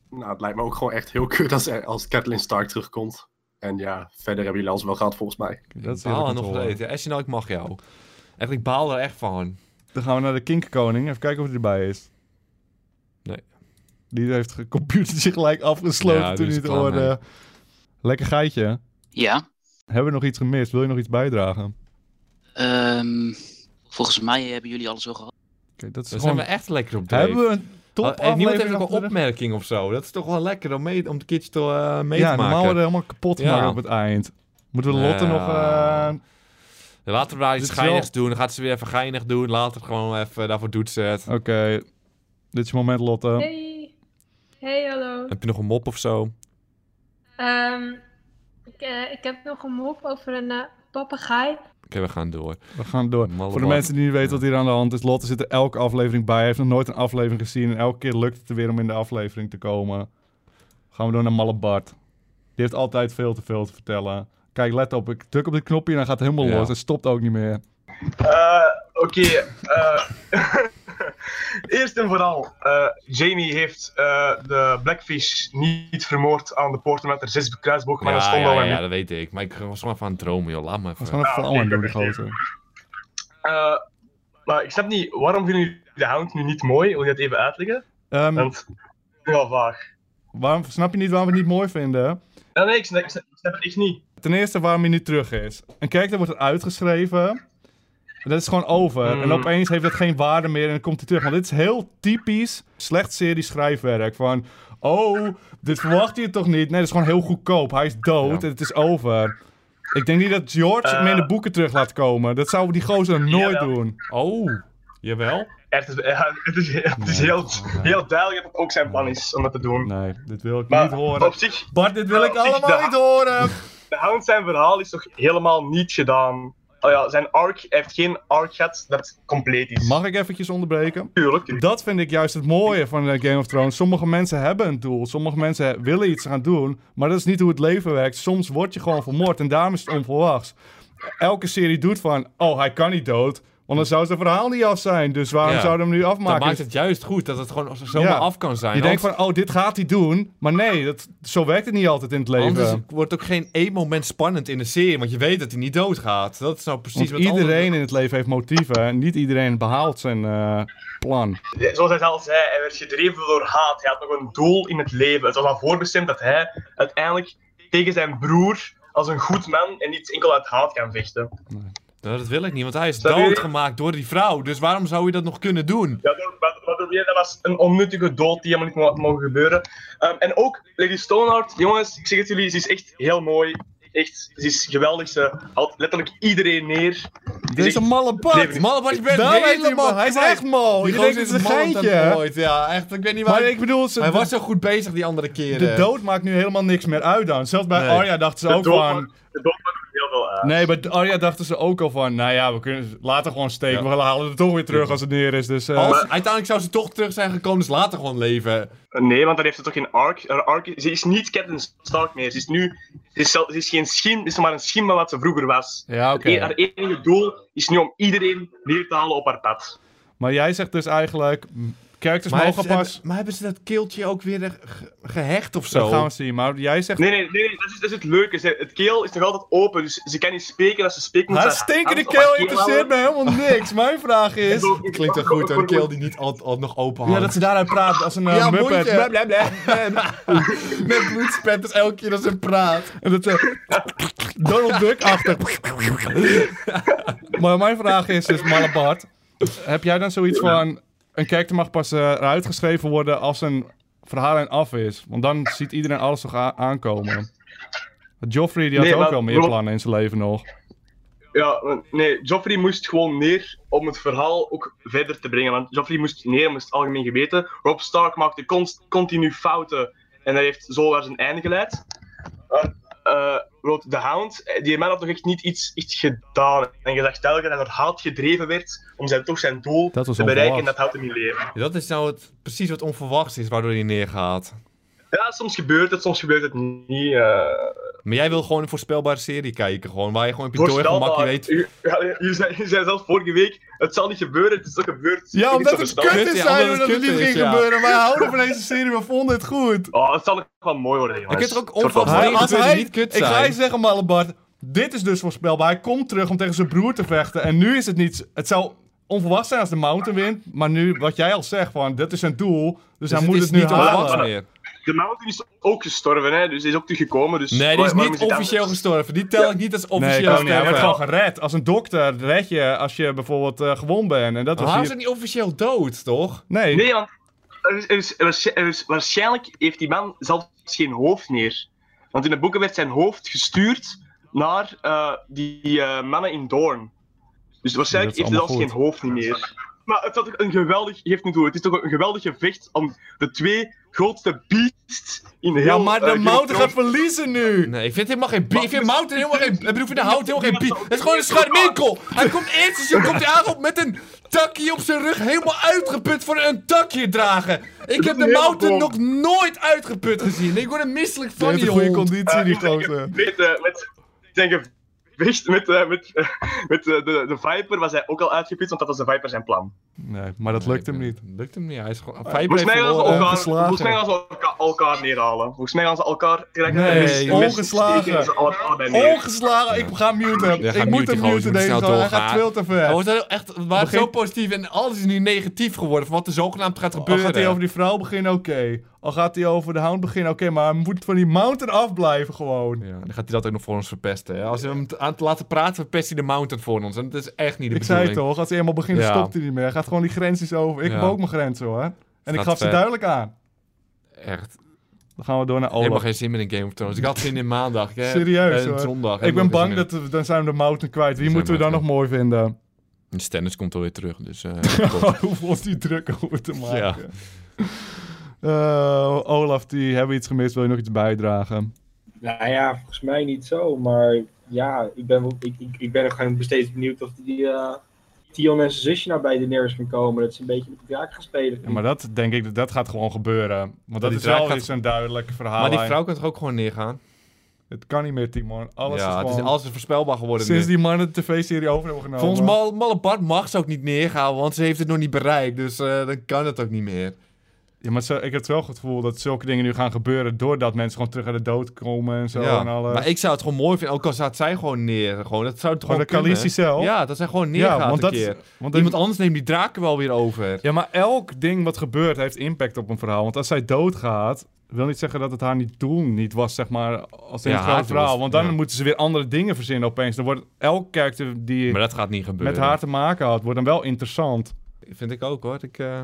[SPEAKER 6] Nou, het lijkt me ook gewoon echt heel kut als, er- als Catelyn Stark terugkomt. En ja, verder hebben jullie alles wel gehad volgens mij.
[SPEAKER 1] Dat is
[SPEAKER 2] ik baal
[SPEAKER 1] heerlijk
[SPEAKER 2] er
[SPEAKER 1] om te
[SPEAKER 2] nog
[SPEAKER 1] horen.
[SPEAKER 2] steeds. Ja, Asje, nou, ik mag jou. Echt, ik baal er echt van.
[SPEAKER 1] Dan gaan we naar de Kinkerkoning. Even kijken of hij erbij is.
[SPEAKER 2] Nee.
[SPEAKER 1] Die heeft het computertje gelijk afgesloten
[SPEAKER 2] Ja,
[SPEAKER 1] toen
[SPEAKER 2] die
[SPEAKER 1] hij
[SPEAKER 2] is
[SPEAKER 1] het
[SPEAKER 2] klaar
[SPEAKER 1] hoorde.
[SPEAKER 2] mee.
[SPEAKER 1] Lekker geitje.
[SPEAKER 8] Ja,
[SPEAKER 1] Hebben we nog iets gemist? Wil je nog iets bijdragen? Oké,
[SPEAKER 8] ehm, volgens mij hebben jullie alles wel gehad.
[SPEAKER 1] dat is
[SPEAKER 2] Daar zijn
[SPEAKER 1] gewoon...
[SPEAKER 2] we echt lekker op dreef.
[SPEAKER 1] Hebben we een top
[SPEAKER 2] Ah, eh, Niemand heeft ook
[SPEAKER 1] achter
[SPEAKER 2] een
[SPEAKER 1] de rug?
[SPEAKER 2] opmerking of zo. Dat is toch wel lekker om, mee, om de kids te, eh, mee
[SPEAKER 1] Ja,
[SPEAKER 2] te
[SPEAKER 1] normaal
[SPEAKER 2] maken.
[SPEAKER 1] worden we helemaal kapot
[SPEAKER 2] Ja.
[SPEAKER 1] maken op het eind. Moeten we Lotte
[SPEAKER 2] Ja.
[SPEAKER 1] nog... eh,
[SPEAKER 2] Laten we daar iets
[SPEAKER 1] Dit is wel-
[SPEAKER 2] geinigs doen. Dan gaat ze weer even geinig doen. Later gewoon even, eh, daarvoor doet ze het.
[SPEAKER 1] Oké, dit is je moment Lotte.
[SPEAKER 9] Hey, hey hallo.
[SPEAKER 2] Heb je nog een mop of zo?
[SPEAKER 9] Ehm, ik, eh, ik heb nog een mop over een eh, papegaai.
[SPEAKER 2] Oké, we gaan door.
[SPEAKER 1] We gaan door.
[SPEAKER 2] Malle
[SPEAKER 1] Voor de
[SPEAKER 2] man.
[SPEAKER 1] mensen die niet weten
[SPEAKER 2] Ja.
[SPEAKER 1] wat hier aan de hand is, Lotte zit er elke aflevering bij. Hij heeft nog nooit een aflevering gezien. En elke keer lukt het er weer om in de aflevering te komen. Gaan we door naar Malle Bart. Die heeft altijd veel te veel te vertellen. Kijk, let op. Ik druk op dit knopje en hij gaat helemaal
[SPEAKER 2] Ja.
[SPEAKER 1] los. Hij stopt ook niet meer.
[SPEAKER 10] Eh, Oké. eh, [LAUGHS] eerst en vooral, eh, Jamie heeft eh, de Blackfish niet vermoord aan de poorten met haar zes kruisbogen, maar dat
[SPEAKER 2] ja,
[SPEAKER 10] stond
[SPEAKER 2] ja,
[SPEAKER 10] al
[SPEAKER 2] ja,
[SPEAKER 10] in.
[SPEAKER 2] ja, dat weet ik. Maar ik was gewoon even aan het dromen, joh. Laat me
[SPEAKER 1] Hij is
[SPEAKER 2] even.
[SPEAKER 1] gewoon een
[SPEAKER 10] Ah,
[SPEAKER 1] flauw aan
[SPEAKER 10] ik
[SPEAKER 1] doen, die
[SPEAKER 10] heb het
[SPEAKER 1] gozer.
[SPEAKER 10] Eh, maar ik snap niet, waarom vinden jullie de hound nu niet mooi? Wil je dat even uitleggen?
[SPEAKER 2] Hm.
[SPEAKER 1] Ehm,
[SPEAKER 10] Want, wel vaag.
[SPEAKER 1] waarom, snap je niet waarom we het niet mooi vinden?
[SPEAKER 10] Ja, nee, ik snap, ik snap- ik snap het echt niet.
[SPEAKER 1] Ten eerste waarom hij niet terug is. Een character wordt er uitgeschreven. En dat is gewoon over. En opeens heeft dat geen waarde meer en dan komt hij terug. Want dit is heel typisch slecht serie schrijfwerk. Van, oh, dit verwacht je toch niet? Nee, dat is gewoon heel goedkoop. Hij is dood en het is over. Ik denk niet dat George hem in de boeken terug laat komen. Dat zou die gozer nooit
[SPEAKER 10] Jawel.
[SPEAKER 1] doen.
[SPEAKER 2] Oh, jawel.
[SPEAKER 10] Echt, het, is- ja, [LAUGHS] het is, het is heel, heel duidelijk dat het ook zijn plan is om dat te doen.
[SPEAKER 1] Nee, dit wil ik
[SPEAKER 10] Maar
[SPEAKER 1] niet horen.
[SPEAKER 10] op zich,
[SPEAKER 1] Bart, dit wil ik
[SPEAKER 10] op zich
[SPEAKER 1] allemaal
[SPEAKER 10] de-
[SPEAKER 1] niet horen.
[SPEAKER 10] de Hound zijn verhaal is toch helemaal niet gedaan. Oh ja, zijn arc hij heeft geen arc gehad dat compleet is.
[SPEAKER 1] Mag ik eventjes onderbreken?
[SPEAKER 10] Tuurlijk.
[SPEAKER 1] Dat vind ik juist het mooie van eh, Game of Thrones. Sommige mensen hebben een doel. Sommige mensen willen iets gaan doen. Maar dat is niet hoe het leven werkt. Soms word je gewoon vermoord en daarom is het onverwachts. Elke serie doet van, oh, hij kan niet dood. Want dan zou zijn verhaal niet af zijn. Dus waarom
[SPEAKER 2] Ja.
[SPEAKER 1] zouden we hem nu
[SPEAKER 2] Dat
[SPEAKER 1] afmaken?
[SPEAKER 2] maakt het juist goed dat het gewoon zo- zomaar
[SPEAKER 1] Ja.
[SPEAKER 2] af kan zijn.
[SPEAKER 1] je denkt
[SPEAKER 2] Anders-
[SPEAKER 1] van, oh, dit gaat hij doen. Maar nee, dat, zo werkt het niet altijd in het leven.
[SPEAKER 2] Anders wordt ook geen één moment spannend in de serie, want je weet dat hij niet doodgaat. Dat is nou precies
[SPEAKER 1] Want
[SPEAKER 2] wat
[SPEAKER 1] iedereen
[SPEAKER 2] andere-
[SPEAKER 1] in het leven heeft motieven. En niet iedereen behaalt zijn eh, plan.
[SPEAKER 10] Zoals hij zelf zei, hij werd gedreven door haat. Hij had nog een doel in het leven. Het was al voorbestemd dat hij uiteindelijk tegen zijn broer als een goed man en niet enkel uit haat kan vechten.
[SPEAKER 2] Nou, dat wil ik niet, want hij is
[SPEAKER 10] Snap je?
[SPEAKER 2] doodgemaakt door die vrouw. Dus waarom zou je dat nog kunnen doen?
[SPEAKER 10] Ja, dat, wat, wat bedoel je? dat was een onnuttige dood die helemaal niet mo- mogen gebeuren. Ehm, en ook Lady Stoneheart, jongens, ik zeg het jullie, ze is echt heel mooi. Echt, ze is geweldig. Ze haalt letterlijk iedereen neer.
[SPEAKER 1] Deze malle Bart!
[SPEAKER 10] Nee,
[SPEAKER 2] Mannenbart, je bent
[SPEAKER 1] Daar weet je
[SPEAKER 2] helemaal...
[SPEAKER 1] man, hij is echt mal.
[SPEAKER 2] Die
[SPEAKER 1] Je denkt,
[SPEAKER 2] gozer
[SPEAKER 1] het
[SPEAKER 2] is
[SPEAKER 1] is een
[SPEAKER 2] mallend en
[SPEAKER 1] geintje. hè?
[SPEAKER 2] nooit. Ja, echt, ik weet niet waar...
[SPEAKER 1] Maar ik bedoel, ze,
[SPEAKER 2] Hij was zo goed bezig die andere keren.
[SPEAKER 1] De dood maakt nu helemaal niks meer uit dan. Zelfs bij
[SPEAKER 2] eh, Nee.
[SPEAKER 1] Arya dachten ze
[SPEAKER 10] De
[SPEAKER 1] ook
[SPEAKER 10] dood
[SPEAKER 1] van...
[SPEAKER 10] maakt- De dood maakt heel veel uit.
[SPEAKER 1] Nee, bij Arya dachten ze ook al van... Nou ja, we kunnen laten gewoon steken. We halen het toch weer terug als het neer is. Dus, eh,
[SPEAKER 2] Als, uiteindelijk zou ze toch terug zijn gekomen, dus later gewoon leven.
[SPEAKER 10] eh, Nee, want dan heeft ze toch geen arc. Haar arc is- ze is niet Captain Stark meer. Ze is nu. Ze is, zel- ze is geen schim. Ze is maar een schim van wat ze vroeger was.
[SPEAKER 1] Ja, oké.
[SPEAKER 10] E- Haar enige doel is nu om iedereen neer te halen op haar pad.
[SPEAKER 1] Maar jij zegt dus eigenlijk... m, Characters
[SPEAKER 2] Maar hebben,
[SPEAKER 1] mogen
[SPEAKER 2] ze-
[SPEAKER 1] pas...
[SPEAKER 2] hebben- maar hebben ze dat keeltje ook weer eh, ge- gehecht of zo?
[SPEAKER 1] Dat gaan we zien. Maar jij zegt...
[SPEAKER 10] Nee, nee, nee, nee, dat, is, dat is het leuke. Ze- het keel is nog altijd open, dus ze kan niet spreken. Als ze spreekt, moet
[SPEAKER 1] Haar
[SPEAKER 10] ze
[SPEAKER 1] stinkende
[SPEAKER 10] hand op haar
[SPEAKER 1] keel interesseert me
[SPEAKER 10] [LAUGHS]
[SPEAKER 1] helemaal niks. Mijn vraag is...
[SPEAKER 10] houden.
[SPEAKER 2] Dat klinkt toch goed, hè? Een keel die niet altijd al nog open hangt.
[SPEAKER 1] Ja, dat ze daaruit praat als een eh,
[SPEAKER 2] Ja,
[SPEAKER 1] muppet.
[SPEAKER 2] mondje.
[SPEAKER 1] Bla, bla, bla.
[SPEAKER 2] [LAUGHS] Met bloedspetters elke keer als ze praat.
[SPEAKER 1] En dat ze... Donald Duck-achtig. maar mijn vraag is dus, Malabart... Heb jij dan zoiets van... Een character mag pas eh, eruit geschreven worden als een verhaallijn af is? Want dan ziet iedereen alles toch a- aankomen. Joffrey die had
[SPEAKER 10] Nee,
[SPEAKER 1] ook
[SPEAKER 10] maar-
[SPEAKER 1] wel meer
[SPEAKER 10] bro-
[SPEAKER 1] plannen in zijn leven nog.
[SPEAKER 10] Ja, want- nee, Joffrey moest gewoon neer om het verhaal ook verder te brengen. Want Joffrey moest neer om het algemeen geweten. Rob Stark maakte const- continu fouten en hij heeft zo naar zijn einde geleid. Maar, eh, Lord the Hound, eh, die man had nog echt niet iets, iets gedaan. En je zag telkens dat hij door haat gedreven werd om zijn, toch zijn doel
[SPEAKER 1] Dat was
[SPEAKER 10] te bereiken en
[SPEAKER 1] onverwacht.
[SPEAKER 10] dat houdt hem in leven.
[SPEAKER 2] Ja, [LAUGHS] dat is nou het, precies wat onverwachts is waardoor hij neergaat.
[SPEAKER 10] Ja, soms gebeurt het, soms gebeurt het niet. eh
[SPEAKER 2] Maar jij wil gewoon een voorspelbare serie kijken, gewoon, waar je gewoon op je doorgemak je weet...
[SPEAKER 10] U- ja, Jullie zei, jullie zei zelf vorige week, het zal niet gebeuren, het is toch gebeurd. Het is
[SPEAKER 1] Ja,
[SPEAKER 10] niet
[SPEAKER 1] omdat
[SPEAKER 10] zo
[SPEAKER 1] het
[SPEAKER 10] verstandig.
[SPEAKER 1] kut
[SPEAKER 2] Kut,
[SPEAKER 1] is,
[SPEAKER 2] ja,
[SPEAKER 1] zeiden we
[SPEAKER 2] omdat
[SPEAKER 1] dat
[SPEAKER 2] het
[SPEAKER 1] het niet
[SPEAKER 2] kut
[SPEAKER 1] ging
[SPEAKER 2] is, ja.
[SPEAKER 1] gebeuren. Wij houden van deze serie, we vonden het goed.
[SPEAKER 10] Oh, het zal ook wel mooi worden, jongens.
[SPEAKER 2] Je kunt er ook
[SPEAKER 10] Soort van
[SPEAKER 2] onverwachts
[SPEAKER 10] hype.
[SPEAKER 2] tegen
[SPEAKER 1] als
[SPEAKER 2] kunnen
[SPEAKER 1] hij,
[SPEAKER 2] niet kut
[SPEAKER 1] Ik ga
[SPEAKER 2] zijn.
[SPEAKER 1] je zeggen, Malabart, dit is dus voorspelbaar. Hij komt terug om tegen zijn broer te vechten. En nu is het niet... Het zou onverwacht zijn als de Mountain wint. Maar nu, wat jij al zegt, van, dit is zijn doel. Dus, hij moet het, nu
[SPEAKER 2] niet
[SPEAKER 1] halen.
[SPEAKER 2] onverwachts meer.
[SPEAKER 10] De Mountain is ook gestorven, hè, dus die is ook teruggekomen. Dus
[SPEAKER 2] Nee, die
[SPEAKER 10] waar-
[SPEAKER 2] is
[SPEAKER 10] waarom
[SPEAKER 2] niet
[SPEAKER 10] het
[SPEAKER 2] officieel
[SPEAKER 10] anders?
[SPEAKER 2] gestorven. Die tel ik niet als
[SPEAKER 1] Nee,
[SPEAKER 2] officieel
[SPEAKER 1] kan niet. Hij wordt gewoon
[SPEAKER 2] sterven.
[SPEAKER 1] gered. Als een dokter red je als je bijvoorbeeld eh gewond bent. En dat was
[SPEAKER 2] Maar hij
[SPEAKER 1] hier-
[SPEAKER 2] is ook niet officieel dood, toch?
[SPEAKER 1] Nee,
[SPEAKER 10] Nee, want er is, er is, er is- er is- waarschijnlijk heeft die man zelfs geen hoofd meer. Want in de boeken werd zijn hoofd gestuurd naar eh, die eh, mannen in Doorn. Dus waarschijnlijk
[SPEAKER 1] Dat
[SPEAKER 10] heeft
[SPEAKER 1] is
[SPEAKER 10] hij zelfs
[SPEAKER 1] allemaal
[SPEAKER 10] geen hoofd meer. Maar het had ook een geweldig, geeft niet toe, het is toch een geweldig gevecht om de twee grootste beasts in
[SPEAKER 2] Nou,
[SPEAKER 10] heel
[SPEAKER 1] Ja,
[SPEAKER 10] eh,
[SPEAKER 1] maar de
[SPEAKER 10] Game of
[SPEAKER 1] mountain gaat
[SPEAKER 10] Thrones-
[SPEAKER 1] verliezen nu.
[SPEAKER 2] Nee, ik vind helemaal geen bier. Ik vind
[SPEAKER 10] Maar-
[SPEAKER 2] Mountain helemaal [LAUGHS] geen... Ik bedoel, ik vind de hout helemaal geen bier. Het is gewoon een scharminkel. Hij komt eerst en zo komt hij aan op met een takje op zijn rug. Helemaal uitgeput voor een takje dragen. Ik heb de
[SPEAKER 10] heel dom.
[SPEAKER 2] Mountain nog nooit uitgeput gezien. Ik word er misselijk
[SPEAKER 1] Die
[SPEAKER 2] van,
[SPEAKER 1] heeft
[SPEAKER 2] die
[SPEAKER 1] een goede
[SPEAKER 2] hond.
[SPEAKER 1] conditie, die
[SPEAKER 10] Eh, ik
[SPEAKER 1] gozer.
[SPEAKER 10] Met, eh, met, ik denk, een gevecht met, eh, met, eh, met eh, de, de Viper was hij ook al uitgeput, want dat was de Viper zijn plan.
[SPEAKER 1] Nee, maar dat lukt hem niet.
[SPEAKER 2] Lukt hem niet. Hij is gewoon...
[SPEAKER 10] Volgens mij was
[SPEAKER 1] verloren,
[SPEAKER 10] Orkaan-
[SPEAKER 1] eh, geslagen.
[SPEAKER 10] volgens mij was Orkaan Ja, elkaar neerhalen. Volgens mij gaan ze elkaar direct
[SPEAKER 2] Nee,
[SPEAKER 10] een mes- een mes
[SPEAKER 2] ongeslagen.
[SPEAKER 10] steken ze alle- allebei neer.
[SPEAKER 1] Ongeslagen, ik ga muten.
[SPEAKER 2] Ja, ga
[SPEAKER 1] ik moet
[SPEAKER 2] muten,
[SPEAKER 1] hem
[SPEAKER 2] gozer,
[SPEAKER 1] muten
[SPEAKER 2] moet
[SPEAKER 1] deze
[SPEAKER 2] snel
[SPEAKER 1] gozer, Hij gaat
[SPEAKER 2] doorgaan.
[SPEAKER 1] veel te ver.
[SPEAKER 2] Hij
[SPEAKER 1] Oh,
[SPEAKER 2] wordt heel echt, we waren
[SPEAKER 1] Begin-
[SPEAKER 2] zo positief en alles is nu negatief geworden van wat er zogenaamd gaat
[SPEAKER 1] Al
[SPEAKER 2] gebeuren.
[SPEAKER 1] gaat hij over die vrouw beginnen, oké. Al gaat hij over de hound beginnen, oké. maar hij moet van die mountain afblijven gewoon.
[SPEAKER 2] Ja, dan gaat hij dat ook nog voor ons verpesten. Hè? Als we hem t- aan het laten praten, verpest hij de mountain voor ons. En dat is echt niet de
[SPEAKER 1] Ik zei
[SPEAKER 2] bedoeling.
[SPEAKER 1] het toch, als hij eenmaal begint,
[SPEAKER 2] Ja.
[SPEAKER 1] stopt hij niet meer. Hij gaat gewoon die grensjes over. Ik
[SPEAKER 2] Ja.
[SPEAKER 1] heb ook mijn grenzen hoor. En ik
[SPEAKER 2] Gaat
[SPEAKER 1] gaf ze
[SPEAKER 2] ver.
[SPEAKER 1] duidelijk aan.
[SPEAKER 2] Echt.
[SPEAKER 1] Dan gaan we door naar
[SPEAKER 2] Helemaal
[SPEAKER 1] Olaf.
[SPEAKER 2] geen zin meer in Game of Thrones. Ik had zin in maandag. hè.
[SPEAKER 1] Serieus
[SPEAKER 2] en
[SPEAKER 1] hoor.
[SPEAKER 2] zondag.
[SPEAKER 1] ik
[SPEAKER 2] Helemaal geen
[SPEAKER 1] ben bang
[SPEAKER 2] zin
[SPEAKER 1] dat we, dan zijn we de mountain kwijt. Wie
[SPEAKER 2] We
[SPEAKER 1] moeten we dan
[SPEAKER 2] zijn
[SPEAKER 1] nog mooi
[SPEAKER 2] [LAUGHS]
[SPEAKER 1] vinden?
[SPEAKER 2] in. Stennis komt alweer terug, dus...
[SPEAKER 1] [LAUGHS]
[SPEAKER 2] eh,
[SPEAKER 1] Oh, Hoe wordt die druk over te
[SPEAKER 2] Ja.
[SPEAKER 1] maken? Eh, Olaf, die hebben we iets gemist. Wil je nog iets bijdragen?
[SPEAKER 4] Nou ja, volgens mij niet zo. Maar ja, ik ben, wel- ik, ik, ik ben nog gewoon steeds benieuwd of die eh Tion en zijn zusje naar bij de Neers gaan komen. Dat ze een beetje met de draak gaan spelen.
[SPEAKER 1] Ja, maar dat denk ik, dat, dat gaat gewoon gebeuren. Want dat
[SPEAKER 2] die
[SPEAKER 1] is wel
[SPEAKER 2] draak
[SPEAKER 1] gaat...
[SPEAKER 2] gaat-
[SPEAKER 1] eens een duidelijk verhaal.
[SPEAKER 2] maar die vrouw kan toch ook gewoon neergaan?
[SPEAKER 1] Het kan niet meer, Timon. Alles
[SPEAKER 2] ja,
[SPEAKER 1] is gewoon...
[SPEAKER 2] het is, alles is voorspelbaar geworden
[SPEAKER 1] Sinds
[SPEAKER 2] nu.
[SPEAKER 1] die mannen de tv-serie over hebben genomen.
[SPEAKER 2] Volgens Mal, Malle Bart mag ze ook niet neergaan, want ze heeft het nog niet bereikt. Dus eh, dan kan het ook niet meer.
[SPEAKER 1] Ja, maar zo- ik heb het wel het gevoel dat zulke dingen nu gaan gebeuren... doordat mensen gewoon terug uit de dood komen en zo
[SPEAKER 2] ja.
[SPEAKER 1] en alles.
[SPEAKER 2] Maar ik zou het gewoon mooi vinden, ook al staat zij gewoon neer. Gewoon, dat zou het gewoon
[SPEAKER 1] Gewoon de Khaleesi
[SPEAKER 2] kunnen.
[SPEAKER 1] zelf?
[SPEAKER 2] Ja, dat zij gewoon neergaat
[SPEAKER 1] ja, want
[SPEAKER 2] een
[SPEAKER 1] dat,
[SPEAKER 2] keer.
[SPEAKER 1] want dat-
[SPEAKER 2] Iemand anders neemt die draken wel weer over.
[SPEAKER 1] Ja, maar elk ding wat gebeurt heeft impact op een verhaal. Want als zij doodgaat, wil niet zeggen dat het haar niet doel niet was, zeg maar, als in
[SPEAKER 2] Ja,
[SPEAKER 1] het grote
[SPEAKER 2] haar doel
[SPEAKER 1] verhaal.
[SPEAKER 2] is-
[SPEAKER 1] Want dan
[SPEAKER 2] ja.
[SPEAKER 1] moeten ze weer andere dingen verzinnen opeens. Dan wordt elk karakter die
[SPEAKER 2] Maar dat gaat niet gebeuren.
[SPEAKER 1] met haar te maken had, wordt dan wel interessant.
[SPEAKER 2] Vind ik ook hoor. Ik, eh,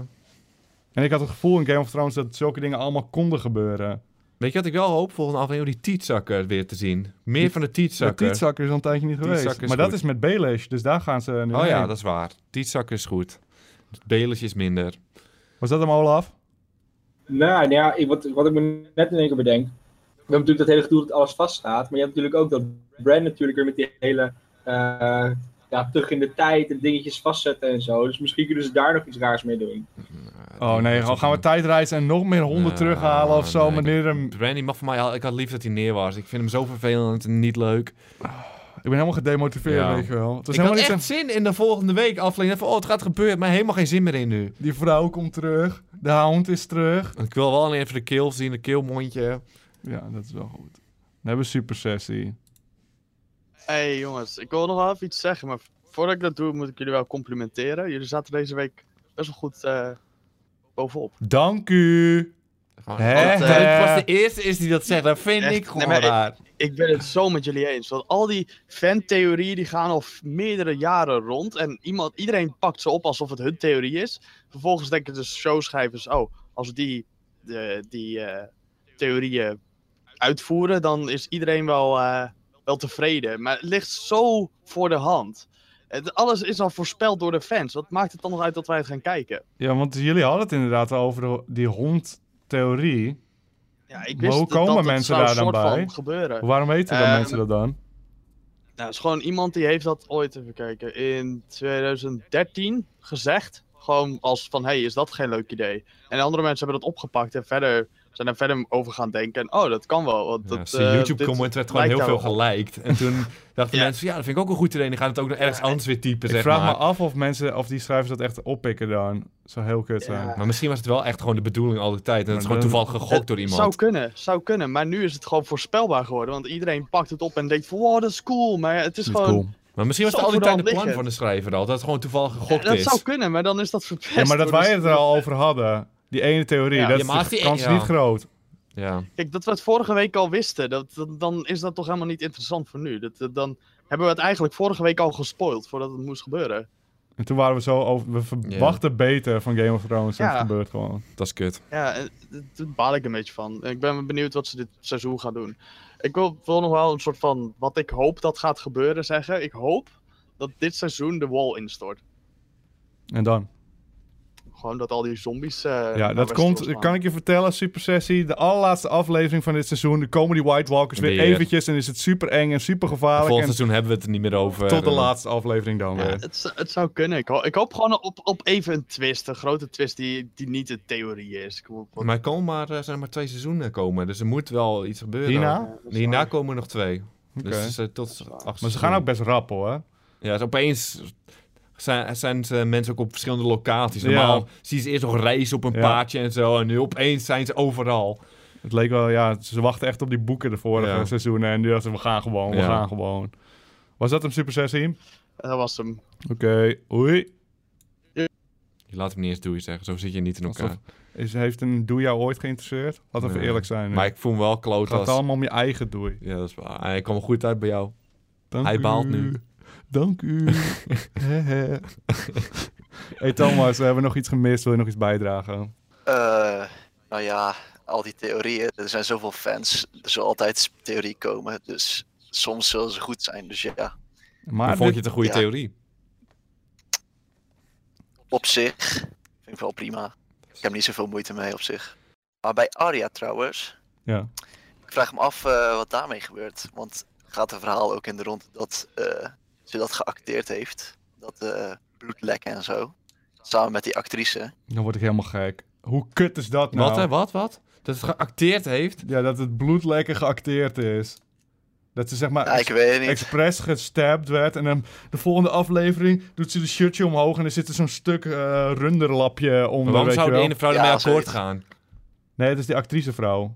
[SPEAKER 1] En ik had het gevoel in Game of Thrones dat zulke dingen allemaal konden gebeuren.
[SPEAKER 2] Weet je wat ik wel hoop? Volgende aflevering die tietzakker weer te zien. Meer
[SPEAKER 1] Die-
[SPEAKER 2] van de
[SPEAKER 1] De
[SPEAKER 2] tietzakker.
[SPEAKER 1] Tietzakker is al een tijdje niet geweest.
[SPEAKER 2] Tietzakker
[SPEAKER 1] Maar
[SPEAKER 2] is
[SPEAKER 1] dat
[SPEAKER 2] goed.
[SPEAKER 1] is met Baelish, dus daar gaan ze nu
[SPEAKER 2] Oh ja,
[SPEAKER 1] heen.
[SPEAKER 2] dat is waar. Tietzakker is goed. Beletje is minder.
[SPEAKER 1] Was dat hem al af?
[SPEAKER 4] Nou, nou ja, ik- wat, wat ik me net in één keer bedenk. We hebben natuurlijk dat hele gedoe dat alles vaststaat. Maar je hebt natuurlijk ook dat brand natuurlijk weer met die hele... eh, ja, terug in de tijd en dingetjes vastzetten en zo. Dus misschien kunnen ze daar nog iets raars mee doen.
[SPEAKER 1] Oh nee,
[SPEAKER 2] dat is
[SPEAKER 1] gaan we
[SPEAKER 2] ook-
[SPEAKER 1] tijdreizen en nog meer honden
[SPEAKER 2] Ja,
[SPEAKER 1] terughalen of zo,
[SPEAKER 2] nee,
[SPEAKER 1] meneer hem...
[SPEAKER 2] Brandy mag voor mij al. Ik had lief dat hij neer was. Ik vind hem zo vervelend en niet leuk.
[SPEAKER 1] Ik ben helemaal gedemotiveerd,
[SPEAKER 2] Ja.
[SPEAKER 1] weet je wel. Het was
[SPEAKER 2] ik had
[SPEAKER 1] helemaal
[SPEAKER 2] echt
[SPEAKER 1] niet zo-
[SPEAKER 2] zin in de volgende week aflevering. Van, oh, het gaat gebeuren. Maar helemaal geen zin meer in nu.
[SPEAKER 1] Die vrouw komt terug. De hound is terug.
[SPEAKER 2] Ik wil wel alleen even de keel zien, de keelmondje.
[SPEAKER 1] Ja, dat is wel goed. Dan hebben we super sessie.
[SPEAKER 5] hey, jongens, ik wil nog wel even iets zeggen, maar voordat ik dat doe moet ik jullie wel complimenteren. Jullie zaten deze week best wel goed eh, bovenop.
[SPEAKER 1] Dank u.
[SPEAKER 2] Gewoon,
[SPEAKER 1] Hè,
[SPEAKER 2] oh,
[SPEAKER 5] hè.
[SPEAKER 2] Het was de eerste is die dat zegt. Dat vind
[SPEAKER 5] Echt?
[SPEAKER 2] ik gewoon
[SPEAKER 5] Nee, maar
[SPEAKER 2] raar.
[SPEAKER 5] Ik ben het zo met jullie eens, want al die fantheorieën die gaan al f- meerdere jaren rond en iemand, iedereen pakt ze op alsof het hun theorie is. Vervolgens denken de showschrijvers, oh, als we die, de, die eh, theorieën uitvoeren, dan is iedereen wel, eh, wel tevreden. Maar het ligt zo voor de hand. Het, alles is al voorspeld door de fans. Wat maakt het dan nog uit dat wij het gaan kijken?
[SPEAKER 1] Ja, want dus jullie hadden het inderdaad al over de- die hondtheorie.
[SPEAKER 5] Ja, ik
[SPEAKER 1] Maar hoe
[SPEAKER 5] dat- dat
[SPEAKER 1] komen
[SPEAKER 5] het
[SPEAKER 1] mensen
[SPEAKER 5] zou
[SPEAKER 1] daar dan
[SPEAKER 5] soort
[SPEAKER 1] bij?
[SPEAKER 5] Van gebeuren.
[SPEAKER 1] Waarom weten dan
[SPEAKER 5] Ehm,
[SPEAKER 1] mensen dat dan?
[SPEAKER 5] Nou, het is gewoon iemand die heeft dat ooit, even kijken, in 2013 gezegd. Gewoon als van, hey, is dat geen leuk idee? En andere mensen hebben dat opgepakt en verder, zijn er verder over gaan denken. En, oh, dat kan wel. Want
[SPEAKER 2] Ja,
[SPEAKER 5] dat,
[SPEAKER 2] zijn
[SPEAKER 5] eh, dit
[SPEAKER 2] YouTube-comment werd gewoon
[SPEAKER 5] lijkt
[SPEAKER 2] heel veel
[SPEAKER 5] daar wel op.
[SPEAKER 2] geliked. En
[SPEAKER 5] [LAUGHS]
[SPEAKER 2] toen dachten
[SPEAKER 5] Ja.
[SPEAKER 2] mensen, ja, dat vind ik ook een goed idee. Die gaan het ook nog ergens anders weer typen,
[SPEAKER 1] Ik
[SPEAKER 2] zeg
[SPEAKER 1] vraag
[SPEAKER 2] maar.
[SPEAKER 1] me af of mensen, of die schrijvers dat echt oppikken dan. Zou heel kut zijn.
[SPEAKER 5] Ja.
[SPEAKER 2] Maar misschien was het wel echt gewoon de bedoeling al die tijd. En het is
[SPEAKER 1] Maar
[SPEAKER 2] gewoon
[SPEAKER 1] dan-
[SPEAKER 2] toevallig gegokt door
[SPEAKER 5] Het
[SPEAKER 2] iemand.
[SPEAKER 5] Zou kunnen, zou kunnen. Maar nu is het gewoon voorspelbaar geworden. Want iedereen pakt het op en denkt van, wow, dat is cool. Maar ja, het is
[SPEAKER 1] Niet
[SPEAKER 5] gewoon...
[SPEAKER 1] cool.
[SPEAKER 2] Maar misschien was het
[SPEAKER 5] Zo
[SPEAKER 2] al die
[SPEAKER 5] voor de
[SPEAKER 2] tijd
[SPEAKER 5] hand
[SPEAKER 2] een plan
[SPEAKER 5] liggend.
[SPEAKER 2] van de schrijver al. Dat het gewoon toevallig gegokt
[SPEAKER 5] dat
[SPEAKER 2] is.
[SPEAKER 5] zou kunnen, maar dan is dat verpest.
[SPEAKER 1] Ja, maar dat
[SPEAKER 5] door de-
[SPEAKER 1] wij het er al over hadden. Die ene theorie,
[SPEAKER 5] Ja.
[SPEAKER 1] dat
[SPEAKER 2] Ja, maar
[SPEAKER 1] is
[SPEAKER 2] als
[SPEAKER 1] de
[SPEAKER 2] die- e-
[SPEAKER 1] kans is
[SPEAKER 2] ja.
[SPEAKER 1] niet groot.
[SPEAKER 2] Ja.
[SPEAKER 5] Kijk, dat we het vorige week al wisten, dat, dat- dan is dat toch helemaal niet interessant voor nu. Dat, dat- dan hebben we het eigenlijk vorige week al gespoild voordat het moest gebeuren.
[SPEAKER 1] En toen waren we zo over, we verwachten beter van Game of Thrones. En
[SPEAKER 5] Ja.
[SPEAKER 1] het gebeurt gewoon.
[SPEAKER 2] Dat is kut.
[SPEAKER 5] Ja, eh, d- daar baal ik een beetje van. Ik ben benieuwd wat ze dit seizoen gaan doen. Ik wil, wil nog wel een soort van wat ik hoop dat gaat gebeuren zeggen. Ik hoop dat dit seizoen de wall instort.
[SPEAKER 1] En dan?
[SPEAKER 5] Gewoon dat al die zombies. eh,
[SPEAKER 1] Ja,
[SPEAKER 5] naar
[SPEAKER 1] dat
[SPEAKER 5] Westeros
[SPEAKER 1] komt,
[SPEAKER 5] gaan.
[SPEAKER 1] kan ik je vertellen, Super Sessie. De allerlaatste aflevering van dit seizoen. Dan komen die White Walkers weer,
[SPEAKER 2] Weer.
[SPEAKER 1] eventjes en is het super eng en super gevaarlijk.
[SPEAKER 2] Volgend
[SPEAKER 1] En
[SPEAKER 2] seizoen hebben we het er niet meer over.
[SPEAKER 1] tot de
[SPEAKER 2] En-
[SPEAKER 1] laatste aflevering dan
[SPEAKER 5] Ja,
[SPEAKER 1] weer.
[SPEAKER 5] het, zou- het zou kunnen. Ik, ho- ik hoop gewoon op, op even een twist. Een grote twist die, die niet een theorie is. Ik wil- wat-
[SPEAKER 2] Maar er komen maar, er zijn er maar twee seizoenen komen. Dus er moet wel iets gebeuren.
[SPEAKER 1] Hierna?
[SPEAKER 5] ja, dat is
[SPEAKER 2] Hierna
[SPEAKER 5] waar.
[SPEAKER 2] komen er nog twee.
[SPEAKER 1] Oké.
[SPEAKER 2] Dus eh, tot
[SPEAKER 5] waar.
[SPEAKER 2] acht
[SPEAKER 1] Maar ze
[SPEAKER 2] seizoenen.
[SPEAKER 1] gaan ook best rap hoor.
[SPEAKER 2] Ja, dus opeens zijn, zijn ze mensen ook op verschillende locaties.
[SPEAKER 1] Ja.
[SPEAKER 2] Normaal zie je ze eerst nog reizen op een
[SPEAKER 1] Ja.
[SPEAKER 2] paardje en zo. En nu opeens zijn ze overal.
[SPEAKER 1] Het leek wel, ja, ze wachten echt op die boeken de vorige
[SPEAKER 2] Ja.
[SPEAKER 1] seizoenen. En die dachten, we gaan gewoon, we
[SPEAKER 2] Ja.
[SPEAKER 1] gaan gewoon. Was dat hem, Super 6 Oké,
[SPEAKER 5] Dat was hem.
[SPEAKER 1] oei.
[SPEAKER 2] Je laat hem niet eens doei zeggen, zo zit je niet in elkaar.
[SPEAKER 1] Alsof- Is, heeft een doe jou ooit geïnteresseerd? Laten we even
[SPEAKER 2] Nee.
[SPEAKER 1] eerlijk zijn. nu.
[SPEAKER 2] Maar ik voel me wel kloot
[SPEAKER 1] het gaat
[SPEAKER 2] als...
[SPEAKER 1] allemaal om je eigen doei.
[SPEAKER 2] Ja, dat is ah, waar. Hij kwam een goede tijd bij jou.
[SPEAKER 1] Dank
[SPEAKER 2] Hij
[SPEAKER 1] u.
[SPEAKER 2] baalt nu. [LAUGHS]
[SPEAKER 1] Dank u. Hè, hè. hey Thomas, we hebben nog iets gemist. Wil je nog iets bijdragen?
[SPEAKER 3] Eh, nou ja, al die theorieën. Er zijn zoveel fans. Er zal altijd theorie komen. Dus soms zullen ze goed zijn. Dus ja,
[SPEAKER 2] Maar
[SPEAKER 1] Maar
[SPEAKER 2] vond je
[SPEAKER 1] dit-
[SPEAKER 2] het een goede
[SPEAKER 3] Ja.
[SPEAKER 2] theorie?
[SPEAKER 3] op zich vind ik wel prima. Ik heb niet zoveel moeite mee op zich. Maar bij Arya trouwens.
[SPEAKER 1] Ja.
[SPEAKER 3] Ik vraag me af eh, wat daarmee gebeurt. Want gaat het verhaal ook in de rond dat eh, ze dat geacteerd heeft? Dat eh bloedlekken en zo. Samen met die actrice.
[SPEAKER 1] Dan word ik helemaal gek. Hoe kut is dat nou?
[SPEAKER 2] Wat, hè? Wat, wat? Dat het geacteerd heeft?
[SPEAKER 1] Ja, dat het bloed lekker geacteerd is. Dat ze zeg maar
[SPEAKER 3] Ja, ik weet het niet.
[SPEAKER 1] expres gestabbed werd. En dan de volgende aflevering doet ze de shirtje omhoog. En er zit er zo'n stuk eh, runderlapje onder.
[SPEAKER 2] Waarom
[SPEAKER 1] weet
[SPEAKER 2] zou
[SPEAKER 1] je
[SPEAKER 2] de
[SPEAKER 1] wel?
[SPEAKER 2] ene vrouw
[SPEAKER 3] Ja,
[SPEAKER 2] ermee akkoord
[SPEAKER 3] zoiets.
[SPEAKER 2] gaan?
[SPEAKER 1] Nee, het is die actricevrouw.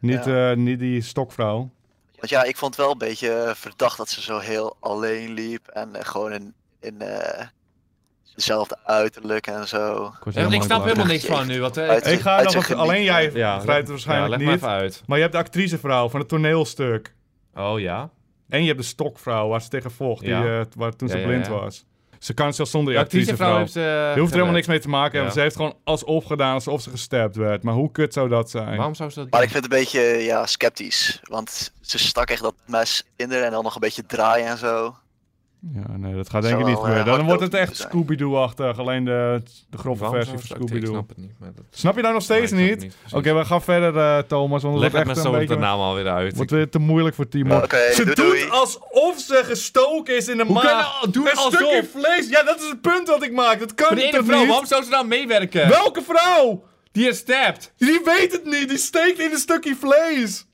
[SPEAKER 1] Niet, eh, niet die stokvrouw.
[SPEAKER 3] Want ja, ik vond het wel een beetje eh, verdacht dat ze zo heel alleen liep. En eh, gewoon in, in eh, dezelfde uiterlijk en zo.
[SPEAKER 2] Echt, ik snap helemaal niks
[SPEAKER 3] Jeetje.
[SPEAKER 2] van nu. eh, Wat,
[SPEAKER 3] Uit-
[SPEAKER 2] hè?
[SPEAKER 1] Ik ga
[SPEAKER 3] uit
[SPEAKER 1] nog
[SPEAKER 3] zijn genieten.
[SPEAKER 1] wat- alleen jij
[SPEAKER 2] Ja,
[SPEAKER 1] begrijpt het
[SPEAKER 2] ja,
[SPEAKER 1] waarschijnlijk
[SPEAKER 2] leg maar
[SPEAKER 1] niet.
[SPEAKER 2] even uit.
[SPEAKER 1] Maar je hebt de actricevrouw van het toneelstuk.
[SPEAKER 2] Oh ja?
[SPEAKER 1] En je hebt de stokvrouw waar ze tegen vocht. Die,
[SPEAKER 2] Ja.
[SPEAKER 1] eh, waar, toen ze
[SPEAKER 2] Ja, ja,
[SPEAKER 1] blind
[SPEAKER 2] ja.
[SPEAKER 1] was. Ze kan zelfs zonder
[SPEAKER 2] De
[SPEAKER 1] die
[SPEAKER 2] actricevrouw
[SPEAKER 1] actricevrouw.
[SPEAKER 2] heeft... eh,
[SPEAKER 1] Je hoeft er helemaal niks mee te maken hebben.
[SPEAKER 2] Ja.
[SPEAKER 1] Ze heeft gewoon alsof gedaan, alsof ze gestapt werd. Maar hoe kut zou dat zijn?
[SPEAKER 2] Waarom zou ze dat
[SPEAKER 3] Maar ik vind het een beetje ja, sceptisch. Want ze stak echt dat mes in haar en dan nog een beetje draaien en zo.
[SPEAKER 1] Ja, nee, dat gaat
[SPEAKER 3] Zou
[SPEAKER 1] denk ik niet
[SPEAKER 3] wel, eh,
[SPEAKER 1] gebeuren. Dan wordt het
[SPEAKER 3] hardlopend
[SPEAKER 1] echt
[SPEAKER 3] zijn.
[SPEAKER 1] Scooby-Doo-achtig. Alleen de, de grove
[SPEAKER 2] Waarom
[SPEAKER 1] versie
[SPEAKER 2] zou
[SPEAKER 1] van
[SPEAKER 2] ze acteren? Ik
[SPEAKER 1] Scooby-Doo.
[SPEAKER 2] snap het niet. maar dat-
[SPEAKER 1] Snap je nou nog steeds
[SPEAKER 2] Nee, ik snap
[SPEAKER 1] niet?
[SPEAKER 2] het niet, precies.
[SPEAKER 1] Oké, we gaan verder, eh, Thomas. Want het
[SPEAKER 2] Leg het
[SPEAKER 1] wordt
[SPEAKER 2] me
[SPEAKER 1] echt
[SPEAKER 2] zo
[SPEAKER 1] een
[SPEAKER 2] met de
[SPEAKER 1] beetje...
[SPEAKER 2] naam alweer uit.
[SPEAKER 1] wordt weer te moeilijk voor Timo.
[SPEAKER 3] Oké,
[SPEAKER 1] ze
[SPEAKER 3] doei,
[SPEAKER 1] doet
[SPEAKER 3] doei.
[SPEAKER 1] alsof ze gestoken is in de
[SPEAKER 2] Hoe kan
[SPEAKER 1] maag.
[SPEAKER 2] je- doe
[SPEAKER 1] een
[SPEAKER 2] alsof?
[SPEAKER 1] stukje vlees. Ja, dat is het punt wat ik maak. Dat kan
[SPEAKER 2] Maar die
[SPEAKER 1] niet.
[SPEAKER 2] ene
[SPEAKER 1] toch
[SPEAKER 2] vrouw,
[SPEAKER 1] niet?
[SPEAKER 2] waarom zou ze nou meewerken?
[SPEAKER 1] Welke vrouw?
[SPEAKER 2] Die is stabbed.
[SPEAKER 1] Die weet het niet. Die steekt in een stukje vlees.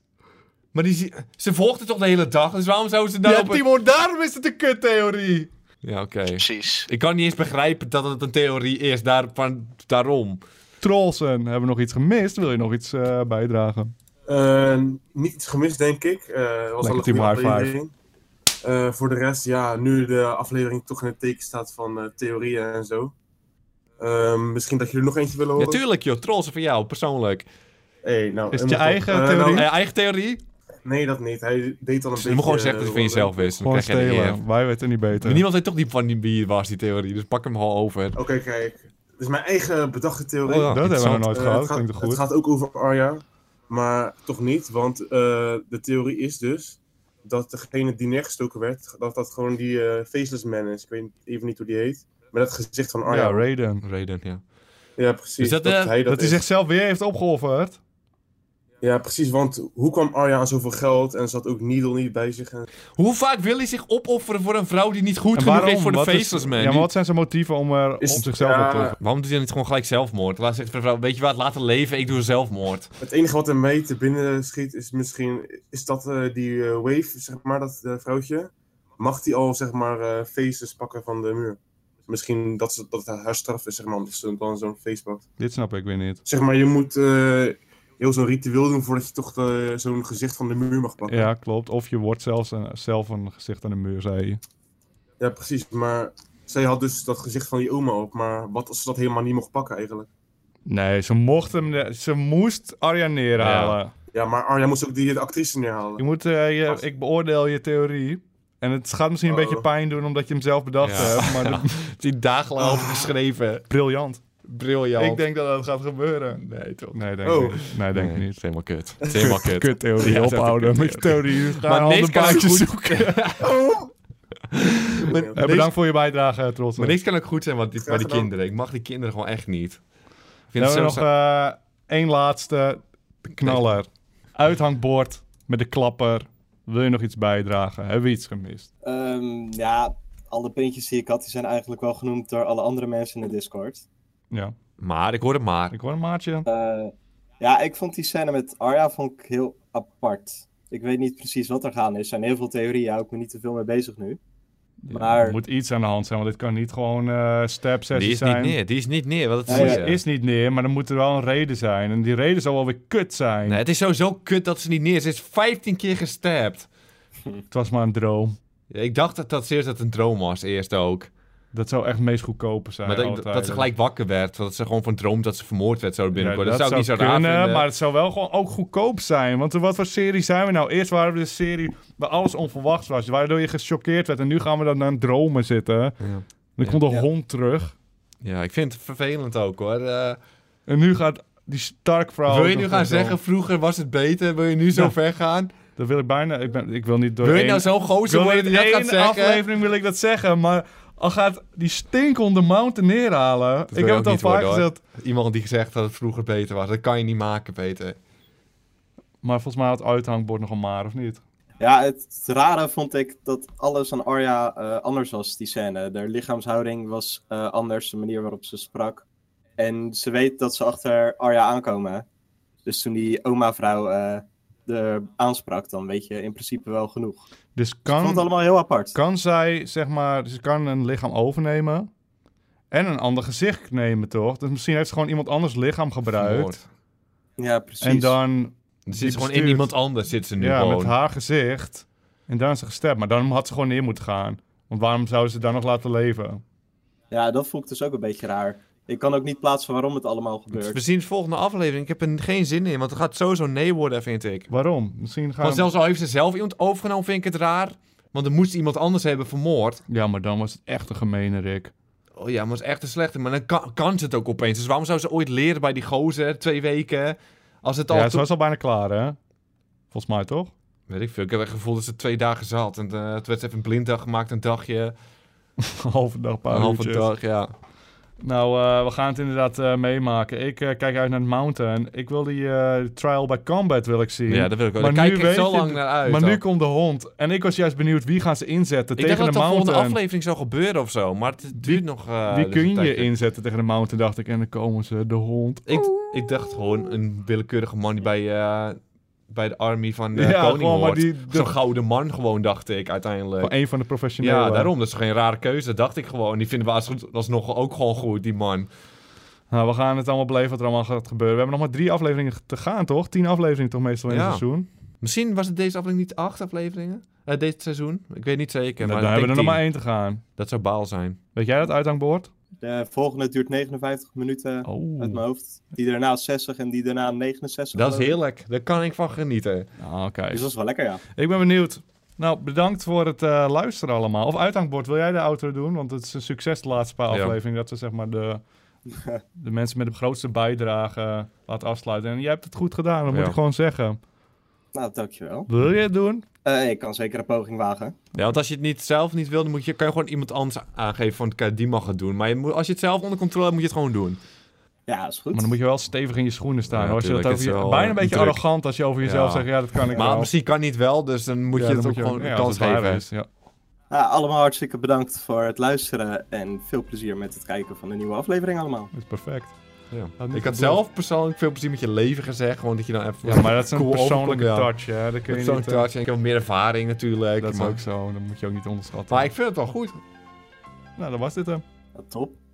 [SPEAKER 2] Maar die, zie- ze volgde toch de hele dag? Dus waarom zou ze dan
[SPEAKER 1] Ja,
[SPEAKER 2] op een-
[SPEAKER 1] Timo, daarom is het een kuttheorie.
[SPEAKER 2] Ja, oké.
[SPEAKER 3] Precies.
[SPEAKER 2] Ik kan niet eens begrijpen dat het een theorie is daar, van, daarom.
[SPEAKER 1] Trollsen, hebben we nog iets gemist? Wil je nog iets eh, bijdragen?
[SPEAKER 11] Eh, niets gemist, denk ik. Eh was
[SPEAKER 1] Lekker
[SPEAKER 11] al een
[SPEAKER 1] team
[SPEAKER 11] goede
[SPEAKER 1] high five.
[SPEAKER 11] aflevering. Eh, voor de rest, ja, nu de aflevering toch in het teken staat van eh, theorieën en zo. Ehm, misschien dat jullie nog eentje willen horen.
[SPEAKER 2] Natuurlijk joh, trolls van jou, persoonlijk.
[SPEAKER 11] Hey, nou, en
[SPEAKER 1] Is het je
[SPEAKER 11] wat dan?
[SPEAKER 1] eigen
[SPEAKER 11] Eh, nou,
[SPEAKER 1] theorie?
[SPEAKER 2] Eh, eigen theorie?
[SPEAKER 11] nee, dat niet. Hij deed dan een
[SPEAKER 2] Dus je
[SPEAKER 11] beetje...
[SPEAKER 2] moet gewoon zeggen dat het van
[SPEAKER 11] eh,
[SPEAKER 2] jezelf is. Dan
[SPEAKER 1] Gewoon
[SPEAKER 2] krijg je de eer.
[SPEAKER 1] stelen. Wij weten niet beter.
[SPEAKER 2] Maar niemand weet toch niet van die- wie het was, die theorie. Dus pak hem gewoon over.
[SPEAKER 11] Oké, kijk. Het is mijn eigen bedachte theorie.
[SPEAKER 2] Oh, ja.
[SPEAKER 1] dat hebben we nog
[SPEAKER 2] Interessant.
[SPEAKER 1] nooit
[SPEAKER 11] Eh,
[SPEAKER 1] gehad.
[SPEAKER 11] het, gaat,
[SPEAKER 1] Klinkt
[SPEAKER 11] het
[SPEAKER 1] goed.
[SPEAKER 11] gaat ook over Arya, maar toch niet, want eh, de theorie is dus dat degene die neergestoken werd, dat dat gewoon die eh, Faceless Man is. Ik weet even niet hoe die heet, maar dat gezicht van Arya.
[SPEAKER 1] Ja, Raiden.
[SPEAKER 2] Reden, ja.
[SPEAKER 11] Ja, precies.
[SPEAKER 2] Is dat,
[SPEAKER 11] dat,
[SPEAKER 2] eh,
[SPEAKER 11] hij dat,
[SPEAKER 1] Dat hij
[SPEAKER 11] is.
[SPEAKER 1] zichzelf weer heeft opgeofferd.
[SPEAKER 11] Ja, precies, want hoe kwam Arya aan zoveel geld en zat ook Needle niet bij zich? En...
[SPEAKER 2] Hoe vaak wil hij zich opofferen voor een vrouw die niet goed
[SPEAKER 1] En
[SPEAKER 2] genoeg is voor de
[SPEAKER 1] Wat is-
[SPEAKER 2] faceless man?
[SPEAKER 1] Ja, maar
[SPEAKER 2] Die-
[SPEAKER 1] wat zijn zijn motieven om er
[SPEAKER 11] Is-
[SPEAKER 1] op zichzelf
[SPEAKER 11] ja.
[SPEAKER 1] op te offeren?
[SPEAKER 2] Waarom doet hij dan niet gewoon gelijk zelfmoord? Laat zegt de vrouw, weet je wat, laat het leven, ik doe zelfmoord.
[SPEAKER 11] Het enige wat hem mee te binnen schiet is misschien, is dat eh, die eh, Wave, zeg maar, dat eh, vrouwtje, mag die al, zeg maar, eh faces pakken van de muur? Misschien dat, ze, dat het haar straf is, zeg maar, omdat ze dan zo'n face pakt.
[SPEAKER 1] Dit snap ik weer niet.
[SPEAKER 11] Zeg maar, je moet eh, heel zo'n ritueel doen voordat je toch eh, zo'n gezicht van de muur mag pakken.
[SPEAKER 1] Ja, klopt. Of je wordt zelfs een, zelf een gezicht aan de muur, zei je.
[SPEAKER 11] Ja, precies. Maar zij had dus dat gezicht van die oma op. Maar wat als ze dat helemaal niet mocht pakken eigenlijk?
[SPEAKER 1] Nee, ze mocht hem... ne- Ze moest Arya neerhalen.
[SPEAKER 11] Ja, maar Arja moest ook die de actrice
[SPEAKER 1] Je
[SPEAKER 11] neerhalen.
[SPEAKER 1] moet, eh, je,
[SPEAKER 11] Als-
[SPEAKER 1] ik beoordeel je theorie. En het gaat misschien een
[SPEAKER 11] Oh.
[SPEAKER 1] beetje pijn doen omdat je hem zelf bedacht
[SPEAKER 2] Ja.
[SPEAKER 1] hebt. Maar dat-
[SPEAKER 2] Die dagenlang
[SPEAKER 11] Oh.
[SPEAKER 2] over geschreven.
[SPEAKER 1] [LAUGHS] briljant.
[SPEAKER 2] Briljant.
[SPEAKER 1] Ik denk dat dat gaat gebeuren.
[SPEAKER 2] Nee, toch?
[SPEAKER 1] Nee, denk
[SPEAKER 11] Oh.
[SPEAKER 1] ik niet. Nee, denk ik
[SPEAKER 2] Nee, het
[SPEAKER 1] niet.
[SPEAKER 2] is helemaal
[SPEAKER 1] [LAUGHS]
[SPEAKER 2] kut. Het is helemaal kut.
[SPEAKER 1] Kut theorie,
[SPEAKER 2] [LAUGHS] Ja, dat is
[SPEAKER 1] ophouden
[SPEAKER 2] een
[SPEAKER 1] met je theorie. Ga
[SPEAKER 2] Maar
[SPEAKER 1] een
[SPEAKER 2] niks
[SPEAKER 1] ander
[SPEAKER 2] kan ook
[SPEAKER 1] baantje
[SPEAKER 2] goed
[SPEAKER 1] [LAUGHS] zoeken.
[SPEAKER 11] Maar,
[SPEAKER 1] Eh, bedankt voor je bijdrage,
[SPEAKER 2] [LAUGHS]
[SPEAKER 1] Trots.
[SPEAKER 2] Maar niks kan ook goed zijn wat dit, bij
[SPEAKER 11] Graag
[SPEAKER 2] die
[SPEAKER 11] gedaan.
[SPEAKER 2] kinderen. Ik mag die kinderen gewoon echt niet. Ik
[SPEAKER 1] Dan
[SPEAKER 2] vind het
[SPEAKER 1] hebben
[SPEAKER 2] zo...
[SPEAKER 1] we nog eh, één laatste. De knaller. Uithangbord met de klapper. Wil je nog iets bijdragen? Hebben we iets gemist?
[SPEAKER 12] Ehm, ja, alle puntjes die ik had, die zijn eigenlijk wel genoemd door alle andere mensen in de Discord.
[SPEAKER 1] Ja.
[SPEAKER 2] Maar, ik hoor het maar.
[SPEAKER 1] Ik hoor een maatje.
[SPEAKER 12] Eh, ja, ik vond die scène met Arya vond ik heel apart. Ik weet niet precies wat er gaande is. Er zijn heel veel theorieën, hou ik me niet te veel mee bezig nu.
[SPEAKER 1] Maar... Er moet iets aan de hand zijn, want dit kan niet gewoon eh stab
[SPEAKER 2] Die
[SPEAKER 1] sessie
[SPEAKER 2] is
[SPEAKER 1] zijn.
[SPEAKER 2] niet neer, die is niet neer. Wat het
[SPEAKER 1] Nee,
[SPEAKER 2] is,
[SPEAKER 1] die is niet neer, maar dan moet er wel een reden zijn. En die reden zal wel weer kut zijn.
[SPEAKER 2] Nee, het is sowieso kut dat ze niet neer is. Ze is 15 keer gestapt.
[SPEAKER 1] Het was maar een droom.
[SPEAKER 2] Ik dacht dat dat eerst dat het een droom was, eerst ook.
[SPEAKER 1] Dat zou echt het meest goedkope zijn.
[SPEAKER 2] Maar dat,
[SPEAKER 1] alle
[SPEAKER 2] dat ze
[SPEAKER 1] tijden.
[SPEAKER 2] gelijk wakker werd. Dat ze gewoon van droom dat ze vermoord werd zo binnenkort.
[SPEAKER 1] Ja,
[SPEAKER 2] dat, zou ik niet zo raar
[SPEAKER 1] kunnen,
[SPEAKER 2] vinden.
[SPEAKER 1] Maar het zou wel gewoon ook goedkoop zijn. Want wat voor serie zijn we nou? Eerst waren we de serie waar alles onverwachts was. Waardoor je gechoqueerd werd. En nu gaan we dan naar dromen zitten. Dan komt een hond terug.
[SPEAKER 2] Ja, ik vind het vervelend ook hoor. Eh,
[SPEAKER 1] En nu gaat die Stark-vrouw...
[SPEAKER 2] wil je
[SPEAKER 1] ook
[SPEAKER 2] nu
[SPEAKER 1] nog
[SPEAKER 2] gaan
[SPEAKER 1] naar dromen.
[SPEAKER 2] zeggen, vroeger was het beter? Wil je nu zo
[SPEAKER 1] Ja.
[SPEAKER 2] ver gaan?
[SPEAKER 1] Dat wil ik bijna... Ik, ben, ik wil niet door
[SPEAKER 2] Wil je
[SPEAKER 1] één-
[SPEAKER 2] nou zo'n gozer
[SPEAKER 1] Ik wil
[SPEAKER 2] worden
[SPEAKER 1] niet
[SPEAKER 2] die dat
[SPEAKER 1] één
[SPEAKER 2] gaat zeggen?
[SPEAKER 1] aflevering wil ik dat zeggen, maar... Al gaat die stinkende mountain neerhalen.
[SPEAKER 2] Dat
[SPEAKER 1] ik
[SPEAKER 2] wil
[SPEAKER 1] heb
[SPEAKER 2] je
[SPEAKER 1] het
[SPEAKER 2] ook
[SPEAKER 1] al
[SPEAKER 2] niet
[SPEAKER 1] vaak
[SPEAKER 2] worden, hoor.
[SPEAKER 1] gezegd.
[SPEAKER 2] Iemand die gezegd dat het vroeger beter was. Dat kan je niet maken, Peter.
[SPEAKER 1] Maar volgens mij had het uithangbord nog een maar, of niet?
[SPEAKER 12] Ja, het rare vond ik dat alles aan Arya eh, anders was, die scène. Haar lichaamshouding was eh, anders, de manier waarop ze sprak. En ze weet dat ze achter Arya aankomen. Dus toen die oma-vrouw eh, de aansprak, dan weet je in principe wel genoeg.
[SPEAKER 1] Dus kan,
[SPEAKER 12] vond het allemaal heel apart.
[SPEAKER 1] Kan zij, zeg maar, dus ze kan een lichaam overnemen en een ander gezicht nemen, toch? Dus misschien heeft ze gewoon iemand anders lichaam gebruikt.
[SPEAKER 2] Vermoord.
[SPEAKER 12] Ja, precies.
[SPEAKER 1] En dan...
[SPEAKER 2] Zit ze
[SPEAKER 1] die
[SPEAKER 2] gewoon in
[SPEAKER 1] bestuurt-
[SPEAKER 2] iemand anders, zit ze nu
[SPEAKER 1] Ja,
[SPEAKER 2] gewoon.
[SPEAKER 1] met haar gezicht. En daar is ze gestemd. Maar dan had ze gewoon neer moeten gaan. Want waarom zouden ze daar nog laten leven?
[SPEAKER 12] Ja, dat vond ik dus ook een beetje raar. Ik kan ook niet plaatsen waarom het allemaal gebeurt.
[SPEAKER 2] We zien de volgende aflevering. Ik heb er geen zin in, want het gaat sowieso nee worden, vind ik.
[SPEAKER 1] Waarom? Misschien gaan...
[SPEAKER 2] Want zelfs al heeft ze zelf iemand overgenomen, vind ik het raar. Want er moest iemand anders hebben vermoord.
[SPEAKER 1] Ja, maar dan was het echt een gemene Rick.
[SPEAKER 2] Oh ja, maar het is echt een slechte. Maar dan kan, kan ze het ook opeens. Dus waarom zou ze ooit leren bij die gozer? Twee weken. Als het al...
[SPEAKER 1] ja, ze
[SPEAKER 2] to-
[SPEAKER 1] was al bijna klaar, hè? Volgens mij toch? [LAUGHS]
[SPEAKER 2] Weet ik veel. Ik heb het gevoel dat ze twee dagen zat. En eh het werd ze even een blinddag gemaakt, een dagje.
[SPEAKER 1] Halve dag, een paar
[SPEAKER 2] Een halve
[SPEAKER 1] uurtjes.
[SPEAKER 2] dag, ja.
[SPEAKER 1] Nou, eh, we gaan het inderdaad eh, meemaken. Ik eh, kijk uit naar het Mountain. Ik wil die eh, Trial by Combat wil ik zien.
[SPEAKER 2] Ja, dat wil ik ook.
[SPEAKER 1] Maar
[SPEAKER 2] Daar
[SPEAKER 1] nu
[SPEAKER 2] kijk ik
[SPEAKER 1] weet
[SPEAKER 2] zo
[SPEAKER 1] je-
[SPEAKER 2] lang naar uit
[SPEAKER 1] Maar nu
[SPEAKER 2] ook.
[SPEAKER 1] komt de hond. En ik was juist benieuwd wie gaan ze inzetten
[SPEAKER 2] Ik dacht
[SPEAKER 1] tegen
[SPEAKER 2] dat
[SPEAKER 1] de
[SPEAKER 2] de volgende
[SPEAKER 1] Mountain.
[SPEAKER 2] aflevering zou gebeuren of zo. Maar het duurt nog... eh,
[SPEAKER 1] wie
[SPEAKER 2] dus een
[SPEAKER 1] kun je
[SPEAKER 2] tijdje.
[SPEAKER 1] inzetten tegen de Mountain, dacht ik. En dan komen ze, de hond.
[SPEAKER 2] Ik, ik dacht gewoon een willekeurige man die bij, eh, bij de army van de
[SPEAKER 1] Ja,
[SPEAKER 2] koning
[SPEAKER 1] gewoon, maar
[SPEAKER 2] hoort.
[SPEAKER 1] die-
[SPEAKER 2] Zo'n gouden man gewoon, dacht ik uiteindelijk.
[SPEAKER 1] Van een van de professionele.
[SPEAKER 2] Ja, daarom. Dat is geen rare keuze, dat dacht ik gewoon. Die vinden we als goed, alsnog ook gewoon goed, die man.
[SPEAKER 1] Nou, we gaan het allemaal beleven wat er allemaal gaat gebeuren. We hebben nog maar drie afleveringen te gaan, toch? Tien afleveringen toch meestal in
[SPEAKER 2] Ja.
[SPEAKER 1] het seizoen?
[SPEAKER 2] Misschien was het deze aflevering niet acht afleveringen? Eh, dit seizoen? Ik weet niet zeker,
[SPEAKER 1] Nou,
[SPEAKER 2] maar ik
[SPEAKER 1] dan hebben we er nog
[SPEAKER 2] denk
[SPEAKER 1] maar
[SPEAKER 2] tien.
[SPEAKER 1] één te gaan.
[SPEAKER 2] Dat zou baal zijn.
[SPEAKER 1] Weet jij dat uithangbord?
[SPEAKER 12] De volgende duurt 59 minuten
[SPEAKER 1] Oh.
[SPEAKER 12] uit mijn hoofd. Die daarna 60 en die daarna 69.
[SPEAKER 2] Dat is
[SPEAKER 12] geloof ik.
[SPEAKER 2] heerlijk. Daar kan ik van genieten.
[SPEAKER 1] Nou, kijk.
[SPEAKER 12] Dus dat is wel lekker, ja.
[SPEAKER 1] Ik ben benieuwd. Nou, bedankt voor het eh, luisteren allemaal. Of uithangbord, wil jij de outro doen? Want het is een succes de laatste paar
[SPEAKER 2] Ja.
[SPEAKER 1] afleveringen. Dat we zeg maar de, de mensen met de grootste bijdrage laten afsluiten. En jij hebt het goed gedaan, dat moet
[SPEAKER 2] Ja.
[SPEAKER 1] ik gewoon zeggen.
[SPEAKER 12] Nou, dankjewel.
[SPEAKER 1] Wil je het doen?
[SPEAKER 12] Eh, ik kan zeker een poging wagen.
[SPEAKER 2] Ja, want als je het niet zelf niet wil, dan moet je, kan je gewoon iemand anders aangeven van "Kijk, die mag het doen. Maar je moet, als je het zelf onder controle hebt, moet je het gewoon doen.
[SPEAKER 12] Ja, is goed.
[SPEAKER 1] Maar dan moet je wel stevig in je schoenen staan.
[SPEAKER 2] Ja,
[SPEAKER 1] hoor. Als je dat
[SPEAKER 2] tuurlijk,
[SPEAKER 1] over
[SPEAKER 2] het is
[SPEAKER 1] je,
[SPEAKER 2] wel,
[SPEAKER 1] bijna een
[SPEAKER 2] eh,
[SPEAKER 1] beetje
[SPEAKER 2] druk.
[SPEAKER 1] arrogant als je over jezelf
[SPEAKER 2] Ja.
[SPEAKER 1] zegt, ja, dat kan ik
[SPEAKER 2] maar
[SPEAKER 1] wel.
[SPEAKER 2] misschien kan niet wel, dus dan moet
[SPEAKER 1] Ja,
[SPEAKER 2] je
[SPEAKER 1] dan
[SPEAKER 2] het ook
[SPEAKER 1] moet je
[SPEAKER 2] gewoon
[SPEAKER 1] ook-
[SPEAKER 2] een
[SPEAKER 1] ja,
[SPEAKER 2] kans
[SPEAKER 1] als het waar
[SPEAKER 2] geven.
[SPEAKER 1] is, ja.
[SPEAKER 12] Nou, allemaal hartstikke bedankt voor het luisteren. En veel plezier met het kijken van de nieuwe aflevering allemaal.
[SPEAKER 1] Dat is perfect.
[SPEAKER 2] Ja.
[SPEAKER 1] niet
[SPEAKER 2] Ik had
[SPEAKER 1] gebeurd.
[SPEAKER 2] zelf persoonlijk veel plezier met je leven gezegd, gewoon dat je dan even...
[SPEAKER 1] Ja, maar dat is een
[SPEAKER 2] cool
[SPEAKER 1] persoonlijke
[SPEAKER 2] overkomt, ja.
[SPEAKER 1] touch, hè. Dat kun je niet,
[SPEAKER 2] Persoonlijke
[SPEAKER 1] eh,
[SPEAKER 2] touch, en ik heb meer ervaring natuurlijk.
[SPEAKER 1] Dat is
[SPEAKER 2] maar-
[SPEAKER 1] ook zo, dat moet je ook niet onderschatten.
[SPEAKER 2] Maar ik vind het wel goed.
[SPEAKER 1] Nou, dat was dit hem.
[SPEAKER 12] top.